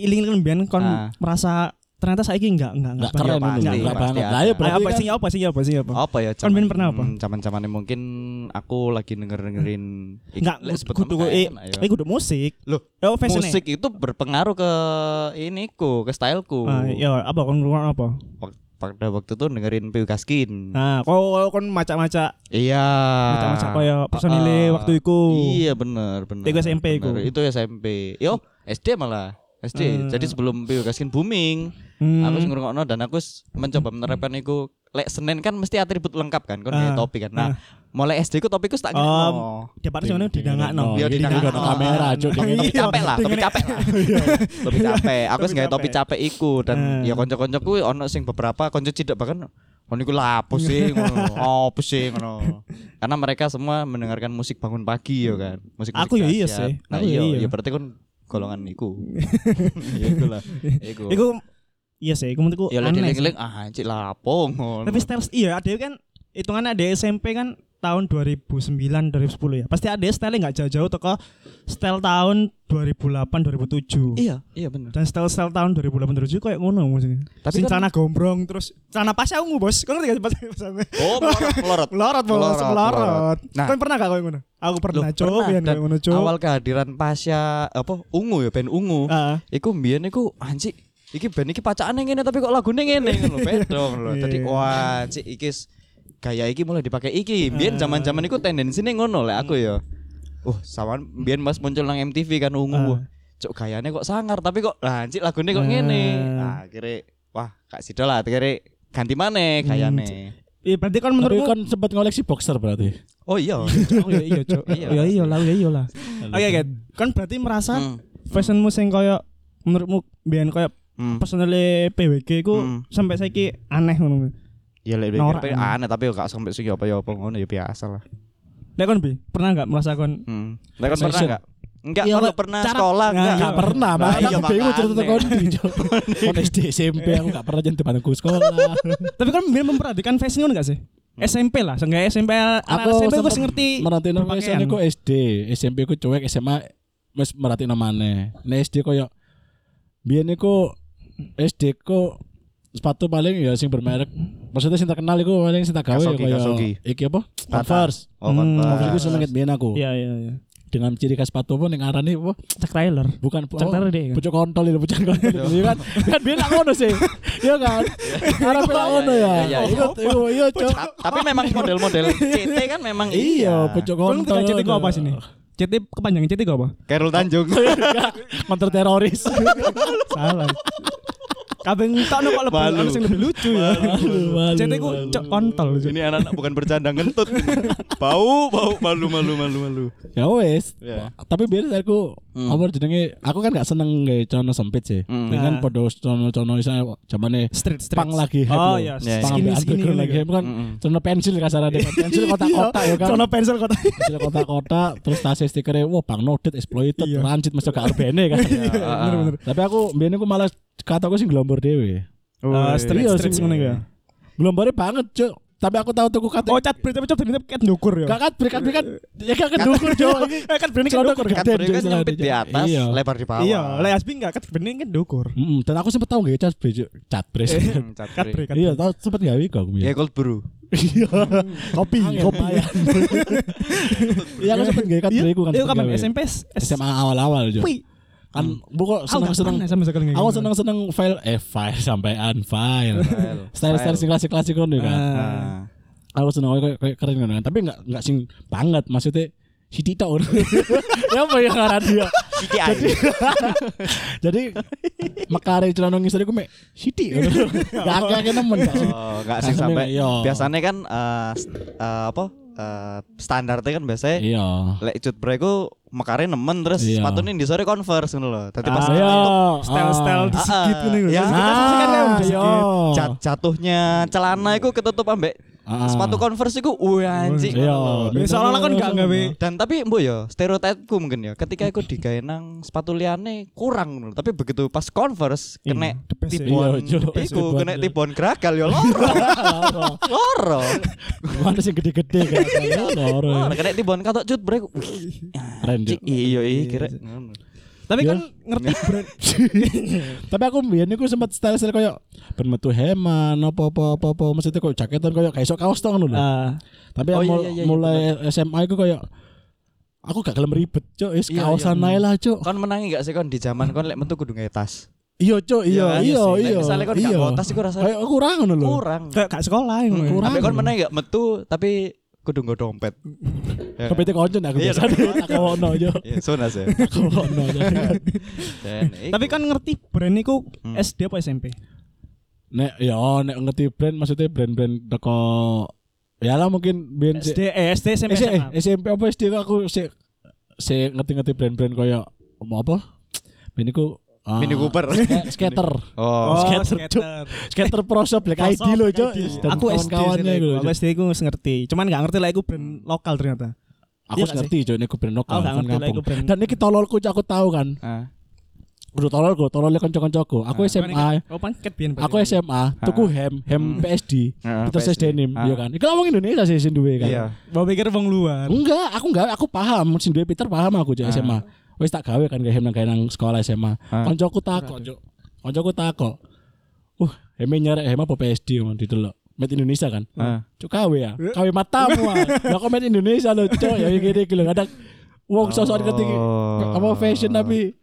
Speaker 3: iling-iling biyen kon
Speaker 2: Ah.
Speaker 3: merasa ternyata saiki nggak nggak
Speaker 1: Nggak Oh,
Speaker 3: banyak.
Speaker 1: keren
Speaker 2: pasti,
Speaker 1: ini,
Speaker 3: pasti
Speaker 1: nggak banget. Lah
Speaker 2: ada.
Speaker 1: ya
Speaker 3: Ayo,
Speaker 1: berarti
Speaker 3: apa
Speaker 1: kan-
Speaker 3: sih apa sih apa sih apa?
Speaker 2: apa ya
Speaker 3: Kan Ben pernah apa?
Speaker 2: hmm, zaman-zamannya mungkin aku lagi denger dengerin
Speaker 3: Nggak kudu kok eh
Speaker 1: ya.
Speaker 3: eh kudu musik.
Speaker 2: Loh,
Speaker 3: Eh, oh, fashion
Speaker 2: musik itu berpengaruh ke iniku, ke styleku.
Speaker 3: Ah, ya apa kon ngurung apa?
Speaker 2: Wak- Pada waktu itu dengerin Piu Gaskin.
Speaker 3: Nah, kau kon macak-macak
Speaker 2: Iya.
Speaker 3: macak-macak kaya personile
Speaker 2: Ah, ah.
Speaker 3: waktu iku.
Speaker 2: Iya bener bener.
Speaker 3: ya? Uh. Itu SMP ku.
Speaker 2: Bener, Itu SMP. Yo SD malah. SD. Jadi sebelum Piu Gaskin booming,
Speaker 3: Ah. Hmm.
Speaker 2: aku sing ngrungokno dan aku s- mencoba menerapkan iku. Lek Senin kan mesti atribut lengkap kan, kon kayak
Speaker 3: Ah,
Speaker 2: topi kan. Nah, mulai SD ku topiku tak
Speaker 3: Oh, dapat sing ngono didangakno.
Speaker 2: Iya,
Speaker 1: Iya,
Speaker 2: di-
Speaker 1: di
Speaker 2: di-
Speaker 1: dalam kamera, Cuk. Dia
Speaker 2: topi
Speaker 1: ngetok.
Speaker 3: Iya.
Speaker 2: capek lah, topi capek lah. topi capek. Aku sih nggak topi capek iku dan
Speaker 3: Eh.
Speaker 2: ya konco-koncoku ono sing beberapa konco cidak bahkan kon iku lapo sih ngono. Opo sih ngono. Karena mereka semua mendengarkan musik bangun pagi ya kan. Musik
Speaker 3: Aku ya iya sih.
Speaker 2: Nah,
Speaker 3: Aku ya
Speaker 2: iya,
Speaker 3: iya.
Speaker 2: ya berarti kon golongan iku. ya iku lah. Iku.
Speaker 3: Iku iya sih, iku menurutku
Speaker 2: Ya lah
Speaker 3: aneh. sih.
Speaker 2: dieling-eling ah cik lapo ngono.
Speaker 3: Tapi style iya ada kan hitungannya ada SMP kan tahun 2009 2010 ya. Pasti ada style nggak jauh-jauh toko style tahun 2008 2007.
Speaker 2: iya, iya bener.
Speaker 3: Dan style-style tahun 2008 2007 kayak ngono maksudnya.
Speaker 2: Tapi
Speaker 3: Tapi Sing
Speaker 2: kan-
Speaker 3: celana gombrong terus celana pas ungu, Bos. Kan ngerti gak pas ungu?
Speaker 2: Oh, melorot, melorot.
Speaker 3: Lorot, Bos,
Speaker 2: Pelorot,
Speaker 3: lorot.
Speaker 2: Nah.
Speaker 3: Kan pernah gak kau yang ngono? Aku
Speaker 2: Loh,
Speaker 3: pernah coba
Speaker 2: pernah.
Speaker 3: yang
Speaker 2: Dan
Speaker 3: kayak ngono Ah. coba.
Speaker 2: Awal kehadiran Pasha apa ungu ya band ungu.
Speaker 3: Heeh.
Speaker 2: Iku mbiyen iku anci iki band iki pacakane ngene tapi kok lagune ngene ngono lho, beda ngono lho. Dadi
Speaker 3: Iya.
Speaker 2: wah cik iki s- gaya iki mulai dipakai iki.
Speaker 3: Eh.
Speaker 2: Mbiyen zaman-zaman iku tendensine ngono lek aku ya. Uh, sawan mbiyen Mas muncul nang MTV kan ungu.
Speaker 3: Ah.
Speaker 2: Wah, Cuk gayane kok sangar tapi kok lah anci lagune kok
Speaker 3: Ah.
Speaker 2: ngene. Ah, akhirnya wah gak sida lah akhirnya ganti
Speaker 3: Hmm.
Speaker 2: maneh gayane.
Speaker 3: Iya, berarti kan
Speaker 1: Tapi
Speaker 3: menurutku
Speaker 1: kan sempat ngoleksi boxer berarti.
Speaker 2: Oh iya.
Speaker 3: Oh, iya iya, Cok.
Speaker 2: Iya,
Speaker 3: Iya iya lah, iya iya lah. Oke, Gat. kan berarti merasa
Speaker 2: Hmm.
Speaker 3: fashionmu sing koyo menurutmu biyen koyo
Speaker 2: Hmm.
Speaker 3: personally PWG ku
Speaker 2: Hmm.
Speaker 3: sampai saiki aneh ngono.
Speaker 2: Ya lek
Speaker 3: Norak.
Speaker 2: pikir aneh tapi gak sampai sing apa ya apa ngono ya biasa lah.
Speaker 3: Nek kon bi, pernah enggak merasakan
Speaker 2: Hmm. Lek kon pernah
Speaker 1: Fashion.
Speaker 2: enggak? Enggak,
Speaker 3: Iya,
Speaker 2: kon
Speaker 3: Pak.
Speaker 2: pernah
Speaker 3: Cara-
Speaker 2: sekolah
Speaker 3: Nah,
Speaker 2: enggak?
Speaker 1: Gak pernah,
Speaker 2: Nah,
Speaker 1: Mas.
Speaker 2: iya,
Speaker 1: Aku bingung
Speaker 2: makanya.
Speaker 1: cerita kondi, Cok. Kon SD SMP aku gak pernah jadi temanku sekolah.
Speaker 3: Tapi kan biar memperhatikan fashion ngono enggak sih?
Speaker 2: Hmm.
Speaker 3: SMP lah, seenggaknya SMP anak SMP gue
Speaker 1: sempet
Speaker 3: ngerti
Speaker 1: merhatiin nama
Speaker 3: berpakaian.
Speaker 1: SD ku SD SMP ku cuek SMA wis merhatiin namane nah SD koyo biyen iku SD ku sepatu paling ya sing bermerek maksudnya sing terkenal iku paling sing tak gawe ya
Speaker 2: Kasugi,
Speaker 1: koyo
Speaker 2: Kasugi.
Speaker 1: iki apa
Speaker 2: Bata.
Speaker 1: Converse
Speaker 2: Oh,
Speaker 3: Hmm,
Speaker 2: Converse.
Speaker 1: Converse iku seneng biyen aku
Speaker 3: Iya iya iya.
Speaker 1: dengan ciri khas sepatu pun yang arane apa
Speaker 3: Cek Tyler.
Speaker 1: bukan oh,
Speaker 3: Cek Tyler deh. kan?
Speaker 1: pucuk kontol itu pucuk kontol itu kan kan biyen nak ngono sih ya kan arep nak
Speaker 2: Iya,
Speaker 1: ngono
Speaker 2: iya,
Speaker 1: ya
Speaker 2: iya, iya.
Speaker 1: Ikut, iya iya cok
Speaker 2: Ta- Tapi memang model-model CT kan memang
Speaker 1: iya pucuk
Speaker 3: Kon
Speaker 1: kontol
Speaker 3: tiga cetik apa sini? Cetik kepanjangan cetik apa?
Speaker 2: Khairul Tanjung.
Speaker 1: konter teroris
Speaker 3: Salah. Kabeh entok nek kok lebih
Speaker 2: Malu.
Speaker 3: ono sing lebih lucu ya. Cetik ku cek kontol. Cok.
Speaker 2: Ini anak-anak bukan bercanda ngentut. Bau, bau, malu, malu, malu, malu.
Speaker 1: ya wes
Speaker 2: Ya.
Speaker 1: tapi biar aku
Speaker 2: Hmm.
Speaker 1: apa jenenge aku kan gak seneng gak celana sempit sih
Speaker 2: Hmm.
Speaker 1: dengan
Speaker 3: Nah.
Speaker 1: podo celana-celana isane zamane
Speaker 3: Street street.
Speaker 1: pang lagi hype
Speaker 3: Oh
Speaker 1: loh.
Speaker 3: iya,
Speaker 2: Ya, ya.
Speaker 1: pang ambil
Speaker 3: skinny skinny.
Speaker 1: underground lagi
Speaker 3: lagi.
Speaker 1: hype kan
Speaker 2: Mm-mm.
Speaker 1: celana pensil kasarane kan pensil kotak-kotak ya kan
Speaker 3: Sono pensil kotak. Eh,
Speaker 1: pensil kotak-kotak terus tasnya stikernya wah bang nodet exploited
Speaker 3: Iya.
Speaker 1: rancit masuk ke arbene kan
Speaker 2: Bener, bener.
Speaker 1: tapi aku biar aku malah kataku sih gelombor dewe
Speaker 3: Eh,
Speaker 1: Iya,
Speaker 2: Oh, Kan
Speaker 3: Street street
Speaker 1: sing-
Speaker 3: ngono iku ya.
Speaker 1: gelombornya banget cok Tapi aku tahu tuku kat.
Speaker 3: Oh, cat break tapi cat break tapi cat ndukur ya.
Speaker 1: Gak kat break kat break kat. Ya gak kedukur jo.
Speaker 3: Eh, cat break kan
Speaker 1: Celana
Speaker 3: ndukur.
Speaker 1: kerja,
Speaker 2: Kan
Speaker 1: Jo,
Speaker 2: kan
Speaker 1: celana
Speaker 2: nyempit
Speaker 1: Jo.
Speaker 2: di atas,
Speaker 1: Iya.
Speaker 2: lebar di bawah.
Speaker 3: Iya, lek asbi enggak cat break kan ndukur.
Speaker 1: Mm, dan aku sempet tahu gak ya cat break Jo? cat break.
Speaker 2: Hmm, cat
Speaker 3: Cat break.
Speaker 2: break.
Speaker 3: kan? cat
Speaker 1: Iya,
Speaker 3: break.
Speaker 1: tahu sempet gak wiko aku.
Speaker 2: Ya
Speaker 1: Iya.
Speaker 2: cold brew.
Speaker 1: Kopi, kopi. Iya, aku sempet gak cat
Speaker 3: Iya,
Speaker 1: break aku kan.
Speaker 3: Iya,
Speaker 1: sempet
Speaker 3: kapan
Speaker 1: gawe.
Speaker 3: SMP? S-
Speaker 1: SMA awal-awal Jo.
Speaker 3: Wih,
Speaker 1: Kan bu kok
Speaker 3: aku
Speaker 1: seneng
Speaker 3: nggak
Speaker 1: seneng.
Speaker 3: pernah sama sekali nggak
Speaker 1: Aku
Speaker 3: gitu.
Speaker 1: seneng seneng file eh file sampean file.
Speaker 2: Style.
Speaker 1: Style style sing klasik klasik kan kan.
Speaker 3: Ah.
Speaker 2: Nah,
Speaker 1: aku seneng aku kayak kayak keren kan tapi nggak nggak sing banget maksudnya si Tito ya apa yang ngaran dia
Speaker 2: Siti Ayu.
Speaker 1: jadi mekare celana ngis tadi aku mek Siti
Speaker 2: Iya.
Speaker 1: nggak akeh akeh nemen nggak sing-
Speaker 2: Oh, enggak sih
Speaker 1: Kasane,
Speaker 2: sampai.
Speaker 1: iya.
Speaker 2: Biasanya kan eh, st- eh, apa? eh, standarnya kan biasanya
Speaker 1: iya
Speaker 2: lek cut break ku mekare nemen terus
Speaker 1: Iya.
Speaker 2: sepatune di sore converse ngono lho. Dadi pas
Speaker 3: Ah,
Speaker 1: iya
Speaker 2: itu
Speaker 3: Style-style
Speaker 1: ah.
Speaker 3: di sikit
Speaker 2: Ah,
Speaker 3: ini lho.
Speaker 2: ya.
Speaker 3: Sikit, sikit, sikit,
Speaker 1: Ah,
Speaker 3: sikit.
Speaker 1: iya.
Speaker 2: jat- jatuhnya celana iku ketutup ambek
Speaker 1: Ah.
Speaker 2: sepatu converse iku wih anjing.
Speaker 1: Iya.
Speaker 2: ngono
Speaker 3: Ya,
Speaker 2: lho.
Speaker 3: Seolah-olah kan enggak gawe
Speaker 2: Dan tapi mbok ya stereotipku mungkin ya ketika aku digawe nang sepatu liyane kurang ngono. Tapi begitu pas converse kena
Speaker 3: the best ya.
Speaker 2: tipuan
Speaker 1: Iya, Cuk.
Speaker 2: iku kena
Speaker 1: Tipuan.
Speaker 2: tipuan geragal ya loro. Loro.
Speaker 1: mana sih gede-gede kan
Speaker 2: Iya, Loro
Speaker 1: loro
Speaker 2: kena tipuan katok cut break.
Speaker 1: Iya.
Speaker 2: Wih,
Speaker 1: keren Jo.
Speaker 2: anjing. Iya iya kira.
Speaker 3: Tapi
Speaker 1: Iya.
Speaker 3: kan ngerti brand.
Speaker 1: tapi aku mbiyen niku sempat style style koyo ben metu heman apa apa apa apa maksudnya koyo jaketan koyo kayak sok kaos to ngono lho
Speaker 3: Ah,
Speaker 1: Tapi aku
Speaker 2: Oh, iya,
Speaker 1: mul-
Speaker 2: iya, iya,
Speaker 1: mulai SMA aku kayak aku gak gelem ribet, Cuk. Wis
Speaker 2: Iya,
Speaker 1: kaosan
Speaker 2: iya.
Speaker 1: ae lah, Cuk.
Speaker 2: Kon menangi gak sih kon di zaman kon lek metu kudu nggae tas.
Speaker 1: Iya, Cuk. Iya,
Speaker 2: kan?
Speaker 1: iya,
Speaker 2: sih. Lek
Speaker 1: iya.
Speaker 2: Misalnya kon gak
Speaker 1: iya.
Speaker 2: bawa tas iku rasanya
Speaker 1: Kayak aku kurang ngono lho.
Speaker 2: kurang. Hmm.
Speaker 3: kayak gak sekolah ya, ngono ya.
Speaker 1: Kurang.
Speaker 2: Tapi kon menangi gak metu tapi kudu nggo dompet. Ya kan?
Speaker 1: Kepete konco nek aku
Speaker 2: Iya,
Speaker 1: biasa
Speaker 2: dompet
Speaker 1: tak kawono, Cuk.
Speaker 2: Iya, sonas ya.
Speaker 1: Kawono. Cuk.
Speaker 2: Dan iku.
Speaker 3: Tapi kan ngerti brand niku
Speaker 2: Hmm.
Speaker 3: SD apa SMP?
Speaker 1: Nek ya nek ngerti brand maksudnya brand-brand teko ya lah mungkin biyen
Speaker 3: SD,
Speaker 1: sik-
Speaker 3: eh, SD, SMP,
Speaker 1: eh, sik- eh,
Speaker 3: SMA.
Speaker 1: SMP apa SD kok aku sik sik ngerti-ngerti brand-brand koyo mau apa? Ben iku ah,
Speaker 2: Mini Cooper.
Speaker 1: sk- skater.
Speaker 2: Oh,
Speaker 3: Oh,
Speaker 1: skater, Cuk. Skater Pro Shop Black ID
Speaker 3: Shop,
Speaker 1: lho,
Speaker 3: Black
Speaker 1: Cuk.
Speaker 3: ID.
Speaker 1: Dan
Speaker 3: Aku SD
Speaker 1: kawan-kawannya
Speaker 3: sih,
Speaker 1: iku lho,
Speaker 3: Aku
Speaker 1: Cuk. Hmm.
Speaker 3: SD aku ngerti. Cuman gak ngerti lah aku brand lokal ternyata.
Speaker 1: Aku iya
Speaker 3: Iya gak
Speaker 1: ngerti cuy ini brand lokal
Speaker 3: Aku gak
Speaker 1: kan
Speaker 3: ngerti lah
Speaker 1: kampung.
Speaker 3: iku brand.
Speaker 1: Dan ini tololku Cuk, aku tahu kan.
Speaker 2: Ah.
Speaker 1: Udah tolol gue, tololnya ya kanca-kancaku.
Speaker 2: Nah,
Speaker 1: Aku
Speaker 2: kan
Speaker 1: SMA,
Speaker 3: Oh, pancet biyen.
Speaker 1: aku SMA, tuku E hem, hem PSD,
Speaker 2: Ah,
Speaker 1: Peter Says
Speaker 2: PSD.
Speaker 1: Denim,
Speaker 2: Ah.
Speaker 1: iya kan. Iku wong Indonesia sih sing duwe kan.
Speaker 2: Iya.
Speaker 3: Bawa pikir wong luar.
Speaker 1: Enggak, aku enggak, aku paham sing duwe Peter paham aku Cuk, SMA. Wis tak gawe kan kayak hem nang gawe nang sekolah SMA.
Speaker 2: Ah.
Speaker 1: Kancaku takok, Cuk. Kancaku takok. Uh, heme nyarek hem apa PSD man didelok. Made Indonesia kan.
Speaker 2: Ah.
Speaker 1: Cuk kawe ya. Kawe matamu. ah. Lah kok made Indonesia lho, Cuk. Ya gini iki lho kadang wong sosok ngerti iki,
Speaker 2: Oh.
Speaker 1: apa fashion tapi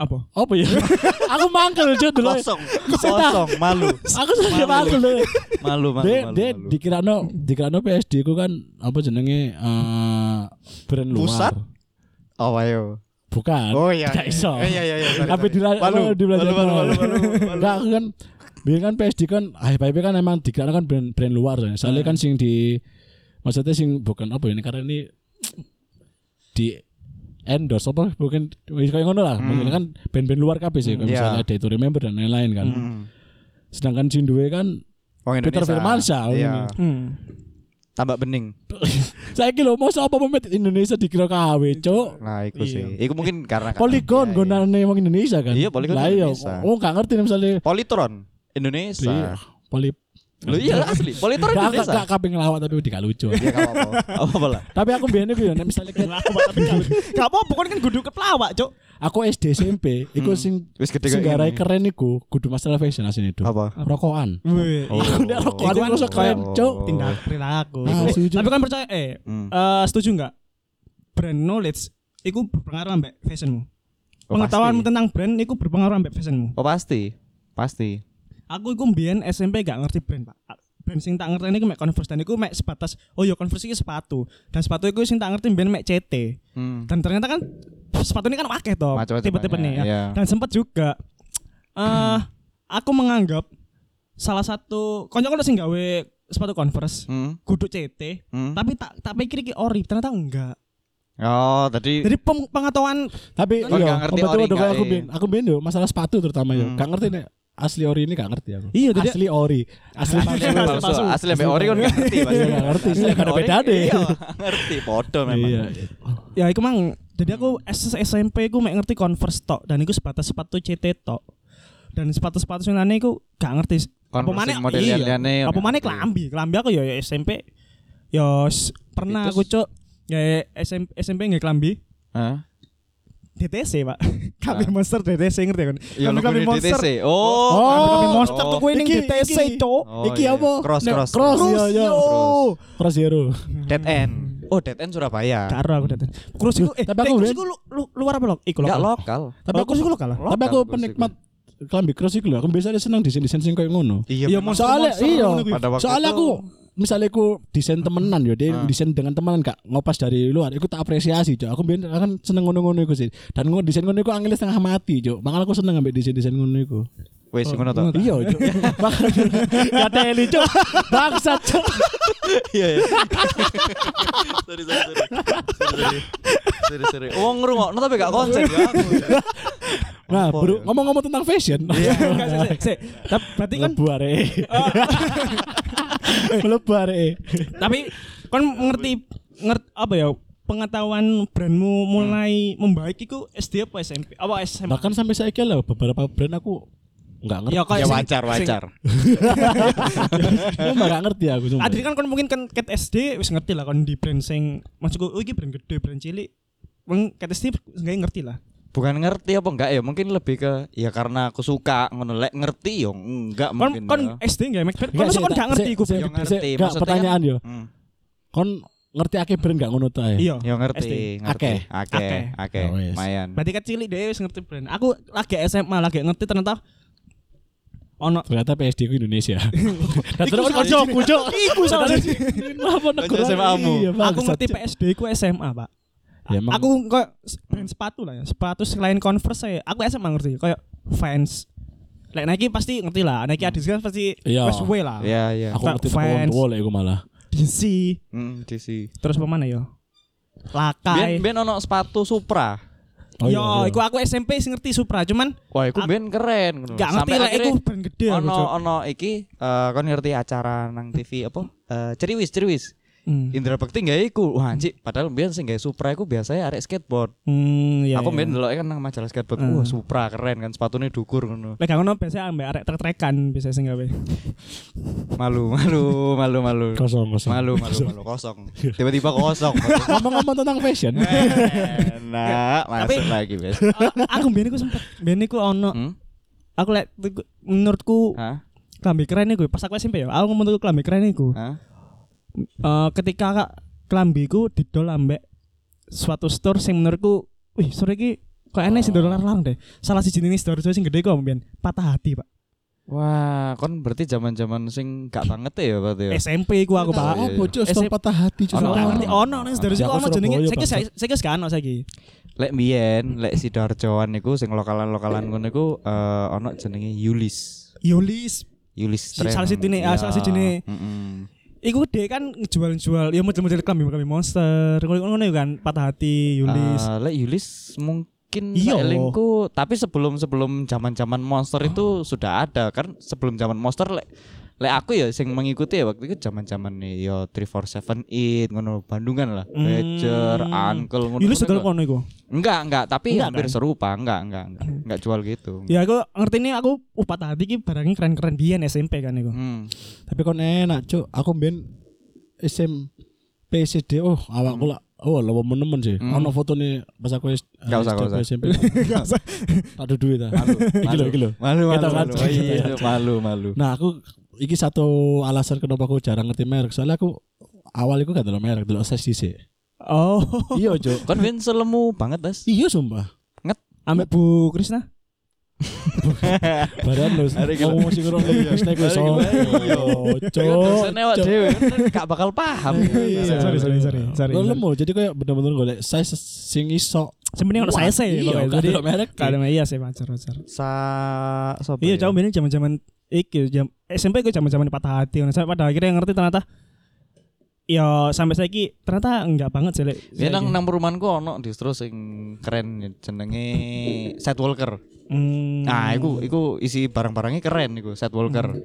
Speaker 3: Apa?
Speaker 1: apa ya? aku mangkel Cuk dulu.
Speaker 2: Kosong, kosong, malu.
Speaker 1: Aku sudah mangkel dulu.
Speaker 2: Malu, malu,
Speaker 1: Dek,
Speaker 2: malu.
Speaker 1: dek,
Speaker 2: malu.
Speaker 1: dikirano, dikirano PSD ku kan apa jenenge eh brand luar.
Speaker 2: Pusat? Oh, ayo.
Speaker 1: Bukan.
Speaker 2: Oh iya.
Speaker 1: Tidak iso.
Speaker 2: Eh, Iya, iya, iya. sorry,
Speaker 1: Tapi
Speaker 2: sorry.
Speaker 1: di
Speaker 2: Malu,
Speaker 1: di belajar.
Speaker 2: malu, malu, malu,
Speaker 1: Enggak aku kan biar kan PSD kan HPP kan emang dikirano kan brand brand luar ya. Soalnya kan sing di maksudnya sing bukan apa ya, ini karena ini di endorse apa bukan kayak ngono lah. Mungkin
Speaker 2: Hmm.
Speaker 1: kan band-band luar kabeh sih kayak
Speaker 2: Iya.
Speaker 1: misalnya ada itu remember dan lain-lain kan.
Speaker 2: Hmm.
Speaker 1: Sedangkan sing duwe kan
Speaker 2: Wong
Speaker 1: Peter
Speaker 2: Indonesia.
Speaker 1: Firmansyah.
Speaker 2: Iya.
Speaker 3: Hmm.
Speaker 2: Tambah bening.
Speaker 1: Saya kira mau apa pemain Indonesia dikira KW, cok.
Speaker 2: Nah, iku sih.
Speaker 1: Iya.
Speaker 2: Iku mungkin karena
Speaker 1: Poligon
Speaker 2: Iya, iya.
Speaker 1: gunane wong Indonesia kan.
Speaker 2: Iya, Polygon
Speaker 1: Lah iya,
Speaker 2: Indonesia.
Speaker 1: wong gak ngerti nih misalnya
Speaker 2: Politron
Speaker 1: Iya,
Speaker 2: Indonesia.
Speaker 1: Poli.
Speaker 2: Lu iya asli. Politron
Speaker 1: Gak gak
Speaker 2: Indonesia.
Speaker 1: gak kabeh ngelawak tapi udah gak lucu.
Speaker 2: Iya, gak apa-apa. Gak Apa-apa lah.
Speaker 1: tapi aku biyen iku ya nek misalnya kayak-
Speaker 3: Gak apa-apa kan kan guduk kelawak, Cuk.
Speaker 1: aku SD SMP iku
Speaker 2: Hmm.
Speaker 1: sing
Speaker 2: Wis gede
Speaker 1: sing
Speaker 2: kayak
Speaker 1: garai
Speaker 2: gini.
Speaker 1: keren iku kudu masalah fashion asine itu.
Speaker 2: Apa? Oh.
Speaker 1: Rokokan.
Speaker 3: Wih.
Speaker 1: Iku nek rokokan
Speaker 3: Iku
Speaker 1: iku
Speaker 3: kan
Speaker 1: rasa keren,
Speaker 2: kayak-
Speaker 1: cok.
Speaker 2: Oh.
Speaker 3: Tindak perilaku.
Speaker 1: Ah,
Speaker 3: Tapi-
Speaker 1: setuju.
Speaker 3: Tapi kan percaya eh
Speaker 2: Hmm.
Speaker 3: eh, setuju nggak? Brand knowledge iku berpengaruh ambek fashionmu.
Speaker 2: Oh,
Speaker 3: Pengetahuan
Speaker 2: pasti.
Speaker 3: tentang brand iku berpengaruh ambek fashionmu.
Speaker 2: Oh, pasti. Pasti.
Speaker 3: Aku iku mbiyen SMP gak ngerti brand, Pak. Brand sing tak ngerti niku mek Converse dan iku mek sebatas oh ya Converse iki sepatu. Dan sepatu iku sing tak ngerti mbiyen mek CT.
Speaker 2: Hmm.
Speaker 3: Dan ternyata kan sepatu ini kan wakeh toh.
Speaker 2: Macam-macam
Speaker 3: Tipe-tipe
Speaker 2: banyak,
Speaker 3: nih. ya.
Speaker 2: iya.
Speaker 3: Dan sempat juga eh aku menganggap salah satu konco udah sing gawe sepatu Converse.
Speaker 2: Hmm.
Speaker 3: Guduk CT,
Speaker 2: Hmm.
Speaker 3: tapi tak tak pikir iki ori, ternyata enggak.
Speaker 2: Oh, tadi
Speaker 3: Jadi pem- pengetahuan
Speaker 1: Tapi
Speaker 2: Kon gak
Speaker 1: iya,
Speaker 2: ngerti
Speaker 1: betul
Speaker 2: ori
Speaker 1: udah
Speaker 2: gak,
Speaker 1: aku
Speaker 2: eh.
Speaker 1: biyen. Aku biyen yo masalah sepatu terutama yo.
Speaker 2: Hmm.
Speaker 1: Gak ngerti nek asli ori ini gak ngerti aku.
Speaker 3: Iya, jadi-
Speaker 1: asli ori. Asli
Speaker 2: asli
Speaker 1: palsu.
Speaker 2: palsu.
Speaker 3: palsu.
Speaker 2: asli mbak ori kan nggak ngerti Pak.
Speaker 1: Iya, nggak ngerti.
Speaker 2: Asli
Speaker 1: Nggak ada
Speaker 2: mbak ori,
Speaker 1: bedane.
Speaker 2: iya, nggak ngerti podo memang
Speaker 1: Iya.
Speaker 3: ya iku mang jadi aku S SMP aku mek ngerti Converse tok dan iku sebatas sepatu CT tok. Dan sepatu-sepatu sing lainnya iku gak ngerti
Speaker 2: Kan
Speaker 3: Apa maneh-
Speaker 2: sing model
Speaker 3: iya.
Speaker 2: liane
Speaker 3: apa mana kelambi kelambi aku ya ya SMP ya s- pernah
Speaker 2: Itu
Speaker 3: aku cok ya ya SMP SMP nggak kelambi
Speaker 2: Hah?
Speaker 3: DTC pak kami monster DTC ngerti kan
Speaker 2: Ah. Ya
Speaker 3: Kami-
Speaker 2: lo
Speaker 3: kami
Speaker 2: kudu
Speaker 3: monster.
Speaker 2: DTC. Oh.
Speaker 3: kami
Speaker 1: Oh,
Speaker 3: monster tuh gue ning
Speaker 1: iki,
Speaker 3: DTC
Speaker 1: iki.
Speaker 3: cok
Speaker 2: Oh,
Speaker 1: Iki
Speaker 2: iya.
Speaker 1: apa?
Speaker 2: Cross
Speaker 1: Nek-
Speaker 2: cross.
Speaker 1: cross,
Speaker 2: cross.
Speaker 1: iya, iya.
Speaker 2: Cross.
Speaker 1: Cross Hero.
Speaker 2: Dead end. Oh, dead end Surabaya.
Speaker 3: karo aku DTC kurus itu eh
Speaker 1: Tapi aku
Speaker 3: kurus
Speaker 1: udah-
Speaker 3: itu lu, lu- luar apa lo iku
Speaker 2: Enggak
Speaker 3: lo
Speaker 2: lokal.
Speaker 3: tapi aku sih lu kalah
Speaker 2: Lokal
Speaker 1: Tapi aku
Speaker 2: cross
Speaker 1: penikmat kelambi cross iku lho. Aku biasanya seneng desain-desain sing koyo ngono.
Speaker 2: Iya, memang.
Speaker 3: monster-
Speaker 1: Soalnya
Speaker 3: monster
Speaker 1: iya.
Speaker 3: ngono kuwi.
Speaker 2: Pada waktu
Speaker 1: Soalnya
Speaker 2: itu-
Speaker 1: aku misalnya aku desain temenan ya, dia
Speaker 2: Ah.
Speaker 1: desain dengan temenan gak ngopas dari luar, aku tak apresiasi cok. Aku biar kan seneng ngono-ngono iku sih. Dan ngono desain ngono iku angel setengah mati cok. Makanya aku seneng ngambil desain-desain ngono iku.
Speaker 2: Wes ngono to.
Speaker 1: Iya cok. Makanya kata Eli cok. Bangsat cok.
Speaker 2: Iya. iya. Sorry, sorry, sorry. Sorry, sorry. Sorry, sorry. Wong ngrungokno tapi gak konsen ya aku.
Speaker 1: Nah, bro,
Speaker 2: Apa ya? Iya.
Speaker 1: ngomong-ngomong tentang fashion.
Speaker 3: Enggak, sik, sik, sik. tapi berarti kan
Speaker 1: Melebu areke. Melebu areke.
Speaker 3: tapi kan ngerti ngerti apa ya pengetahuan brandmu mulai membaik itu SD apa SMP apa SMA
Speaker 1: Bahkan sampai saya kira loh beberapa brand aku nggak ngerti.
Speaker 3: Ya, kok
Speaker 2: Ya
Speaker 3: sing-
Speaker 2: wajar,
Speaker 3: sing-
Speaker 2: wajar.
Speaker 1: Cuma nggak ngerti aku cuma.
Speaker 3: Adri kan kon mungkin kan ket SD wis ngerti lah kon di brand sing maksudku oh iki brand gede brand cilik Wong ket SD nggak ngerti lah.
Speaker 2: Bukan ngerti apa enggak ya, mungkin lebih ke ya karena aku suka ngono. Lek ngerti yo enggak
Speaker 3: Kon
Speaker 2: mungkin.
Speaker 3: kon
Speaker 2: ya.
Speaker 3: SD kan nggak make brand. Kon masa kon nggak kan ngerti kan. iku brand
Speaker 2: sik.
Speaker 3: gede?
Speaker 2: ngerti,
Speaker 1: Gak
Speaker 2: maksudnya
Speaker 1: pertanyaan yo.
Speaker 2: Hmm.
Speaker 1: Kon ngerti akeh brand gak ngono ta ya?
Speaker 3: Iya.
Speaker 2: Ya
Speaker 3: SD.
Speaker 2: ngerti,
Speaker 1: Akeh.
Speaker 2: ngerti.
Speaker 3: Akeh.
Speaker 2: Akeh, akeh.
Speaker 1: Ya wes.
Speaker 2: Lumayan.
Speaker 3: Berarti ket cilik dhewe wis ngerti brand. Aku lagi SMA lagi ngerti ternyata ono
Speaker 1: Ternyata PSD ku Indonesia. Nah, terus
Speaker 3: Iku
Speaker 1: kon
Speaker 3: salah
Speaker 1: jawab cok.
Speaker 3: iku salah.
Speaker 1: Kenapa negara
Speaker 2: SMA mu.
Speaker 1: ini? Iya,
Speaker 3: Aku
Speaker 1: bangsat,
Speaker 3: ngerti
Speaker 1: Cok.
Speaker 3: PSD ku SMA, Pak.
Speaker 1: Ya, emang-
Speaker 3: Aku kok brand sepatu lah ya. Sepatu selain Converse saya. Aku SMA ngerti kayak Vans. Lek Nike pasti ngerti lah. Nike Adidas kan pasti
Speaker 1: Iya.
Speaker 3: wes way lah.
Speaker 2: Hmm. Iya, iya.
Speaker 1: Aku
Speaker 3: Tak
Speaker 1: ngerti
Speaker 3: fans.
Speaker 1: tekan tua lah iku malah.
Speaker 3: DC.
Speaker 2: Hmm, DC.
Speaker 3: Terus apa mana yo? Lakai.
Speaker 2: Biyen biyen ono sepatu Supra.
Speaker 1: Oh, iya, iya.
Speaker 3: yo, iku aku SMP sih ngerti Supra, cuman
Speaker 2: Wah, iku
Speaker 3: Ak-
Speaker 2: biyen keren. ngono.
Speaker 3: gak ngerti
Speaker 2: Hmm. Sampai
Speaker 3: lah
Speaker 2: akhirnya
Speaker 3: iku Iya, brand gede aku,
Speaker 2: ono
Speaker 3: Cok.
Speaker 2: ono iki eh kon ngerti acara nang TV apa? Eh ceriwis ceriwis.
Speaker 3: Hmm.
Speaker 2: Indra Bekti nggak iku. Wah, anjir, padahal biyen sing gawe Supra iku biasanya arek skateboard.
Speaker 3: Hmm, iya. iya.
Speaker 2: Aku
Speaker 3: Hmm.
Speaker 2: main dulu kan nang majalah skateboard. Wah, Supra keren kan sepatunya dukur ngono.
Speaker 3: Lek gak ngono biasanya ambek arek trek-trekan biasanya sing gawe.
Speaker 2: Malu, malu, malu, malu.
Speaker 1: kosong kosong.
Speaker 2: Malu, malu, malu kosong. Tiba-tiba kosong.
Speaker 1: Ngomong-ngomong tentang fashion.
Speaker 2: Nah, masuk lagi, Bes.
Speaker 3: Eh, aku mbene ku sempet mbene ku ono
Speaker 2: Hmm?
Speaker 3: aku lek tiku- menurutku
Speaker 2: Hah?
Speaker 3: klambi keren iku pas aku SMP ya. Aku menurutku klambi keren iku.
Speaker 2: Hah?
Speaker 3: Eh, ketika kak klambiku didol ambek suatu store sing menurutku wih sore iki kok enak sih dolar larang deh. Salah siji jenis store store sing gede kok mbien patah hati, Pak.
Speaker 2: Wah, kon berarti zaman-zaman sing gak banget ya berarti ya.
Speaker 3: SMP ku aku, Pak.
Speaker 1: Oh, bocok
Speaker 3: Eh,
Speaker 1: stop
Speaker 3: sip.
Speaker 1: patah hati cok.
Speaker 3: Ono
Speaker 2: Ono.
Speaker 3: tak ngerti ono nang sedherek
Speaker 1: Ya,
Speaker 3: sik
Speaker 1: aku
Speaker 3: ono jenenge
Speaker 1: Surabaya,
Speaker 3: saiki
Speaker 1: bangsat.
Speaker 3: saiki gak ono saiki.
Speaker 2: Lek mbiyen, lek Sidoarjoan niku sing lokalan-lokalan ngono iku eh ana jenenge Yulis.
Speaker 3: Yulis
Speaker 2: Yulis
Speaker 3: Si-
Speaker 2: Tren.
Speaker 3: salah sijine, ah,
Speaker 2: Ya.
Speaker 3: salah sijine.
Speaker 2: Mm-mm.
Speaker 3: iku dhek kan ngejual-jual ya model-model klambi klambi monster ngono-ngono ya kan patah hati Yulis.
Speaker 2: Eh, lek Yulis mungkin
Speaker 3: Iya.
Speaker 2: elingku, tapi sebelum-sebelum zaman-zaman monster itu sudah ada kan sebelum zaman monster lek lek aku ya sing mengikuti ya waktu itu zaman-zaman nih yo 3478 ngono Bandungan lah.
Speaker 3: Hmm.
Speaker 2: Badger, Uncle ngono.
Speaker 3: Yulis
Speaker 2: ngono
Speaker 3: dodol
Speaker 2: iku. Hmm.
Speaker 3: kono iku.
Speaker 2: Enggak, enggak, tapi
Speaker 3: Enggak,
Speaker 2: hampir
Speaker 3: kan?
Speaker 2: serupa, enggak, enggak, enggak, enggak jual gitu.
Speaker 3: Ya aku ngerti ini aku uh, patah hati ki barangnya keren-keren biyen SMP kan iku.
Speaker 2: Hmm.
Speaker 1: Tapi kon enak cuk. Aku mbien SMP SD oh awakku lah oh lho menemen sih.
Speaker 2: Hmm.
Speaker 1: Ono fotone pas aku S-
Speaker 2: Nggak usah, nggak
Speaker 1: SD,
Speaker 2: usah.
Speaker 1: SMP. Tak ada duit ah. Iki lho, iki lho.
Speaker 2: Malu,
Speaker 1: Kita
Speaker 2: malu,
Speaker 1: kan-
Speaker 2: malu. Iya, malu, malu.
Speaker 1: Nah, aku iki satu alasan kenapa aku jarang ngerti merek. Soalnya aku awal iku gak delok merek, delok size dhisik.
Speaker 3: Oh,
Speaker 1: Iya, Cuk.
Speaker 2: Kon win selemu banget, Das.
Speaker 1: Iya sumpah.
Speaker 3: ambek Bu Krisna.
Speaker 1: Badan lu
Speaker 2: Hari gila.
Speaker 1: ngomong sing ngono iki wis nek wis.
Speaker 2: Hari gila, iya. Dosen awak
Speaker 1: Cuk.
Speaker 2: dhewe kan gak bakal paham.
Speaker 1: Iya.
Speaker 3: Sorry, sorry, sorry, sorry.
Speaker 1: Lo lemu jadi kayak bener-bener golek size sing iso.
Speaker 3: Sebenarnya ono
Speaker 1: Wah,
Speaker 3: saya sih
Speaker 1: Iya,
Speaker 3: pokoknya.
Speaker 1: gak
Speaker 3: Jadi
Speaker 1: delok merek.
Speaker 3: kada iya sih wajar wajar.
Speaker 2: Sa sapa
Speaker 3: Iya,
Speaker 2: ya?
Speaker 3: jauh biyen zaman-zaman iki jam SMP ku zaman-zaman patah hati ngono. Sampai pada akhirnya ngerti ternyata Ya sampai saiki ternyata enggak banget sih. Lek.
Speaker 2: Ya nang
Speaker 3: Saiki.
Speaker 2: nang perumahanku ono distro sing keren ya, jenenge Set Walker.
Speaker 3: Hmm.
Speaker 2: Nah, iku iku isi barang-barangnya keren iku Set Walker.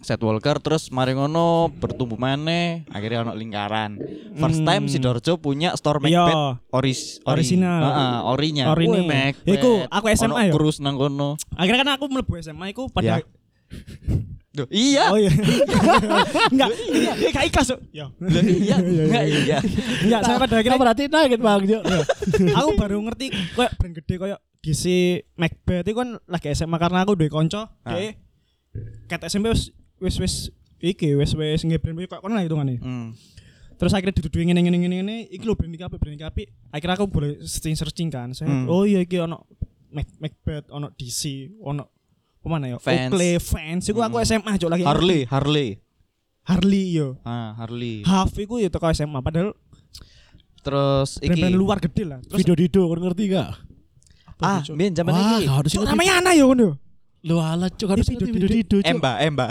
Speaker 2: Set Walker terus mari ngono bertumbuh maneh akhirnya ono lingkaran. First
Speaker 3: Hmm.
Speaker 2: time Sidoarjo punya store
Speaker 3: Iya.
Speaker 2: Macbeth oris ori.
Speaker 3: Orisinal.
Speaker 2: Heeh, orinya.
Speaker 3: Orine.
Speaker 2: Wih, Macbeth.
Speaker 3: Iku, aku SMA
Speaker 2: ono
Speaker 3: ya.
Speaker 2: Krus nang kono.
Speaker 3: Akhirnya kan aku melebu SMA aku
Speaker 2: Ya.
Speaker 3: pada
Speaker 2: Duh, iya.
Speaker 3: Oh iya. Enggak. Iya, kayak ikhlas. Cuk. Ya.
Speaker 2: Lah, iya. Enggak iya.
Speaker 3: Enggak, saya pada akhirnya
Speaker 1: Kita berarti nangit bang Jo.
Speaker 3: aku baru ngerti kayak brand gede kayak DC Macbeth itu kan lagi SMA karena aku duwe kanca
Speaker 2: Ah.
Speaker 3: dhek kat SMP wis wis wis iki wis wis nge brand kayak kono lah hitungane.
Speaker 2: Hmm.
Speaker 3: Terus akhirnya dituduh ngene ngene ngene ngene iki lho brand iki apik brand iki apik. Akhirnya aku boleh searching searching kan. Saya
Speaker 2: Hmm.
Speaker 3: oh iya iki ono Mac Macbeth ono DC ono pemana ya?
Speaker 2: Vans.
Speaker 3: Oakley fans. Iku aku
Speaker 2: Hmm.
Speaker 3: SMA cok lagi.
Speaker 2: Harley, Harley.
Speaker 3: Harley yo.
Speaker 2: Ah, Harley.
Speaker 3: Half iku ya teko SMA padahal
Speaker 2: Terus iki
Speaker 3: brand-brand luar gede lah. Terus
Speaker 1: Video Dido, kau ngerti gak?
Speaker 2: Ah, mien zaman
Speaker 1: Wah,
Speaker 2: iki.
Speaker 1: gak harus
Speaker 3: Cuk,
Speaker 1: ingat.
Speaker 3: namanya ana yo ngono.
Speaker 1: Lu alat cok, harus
Speaker 3: Iya,
Speaker 1: ingat
Speaker 3: Video
Speaker 1: Video Dido cok.
Speaker 2: Emba, Emba.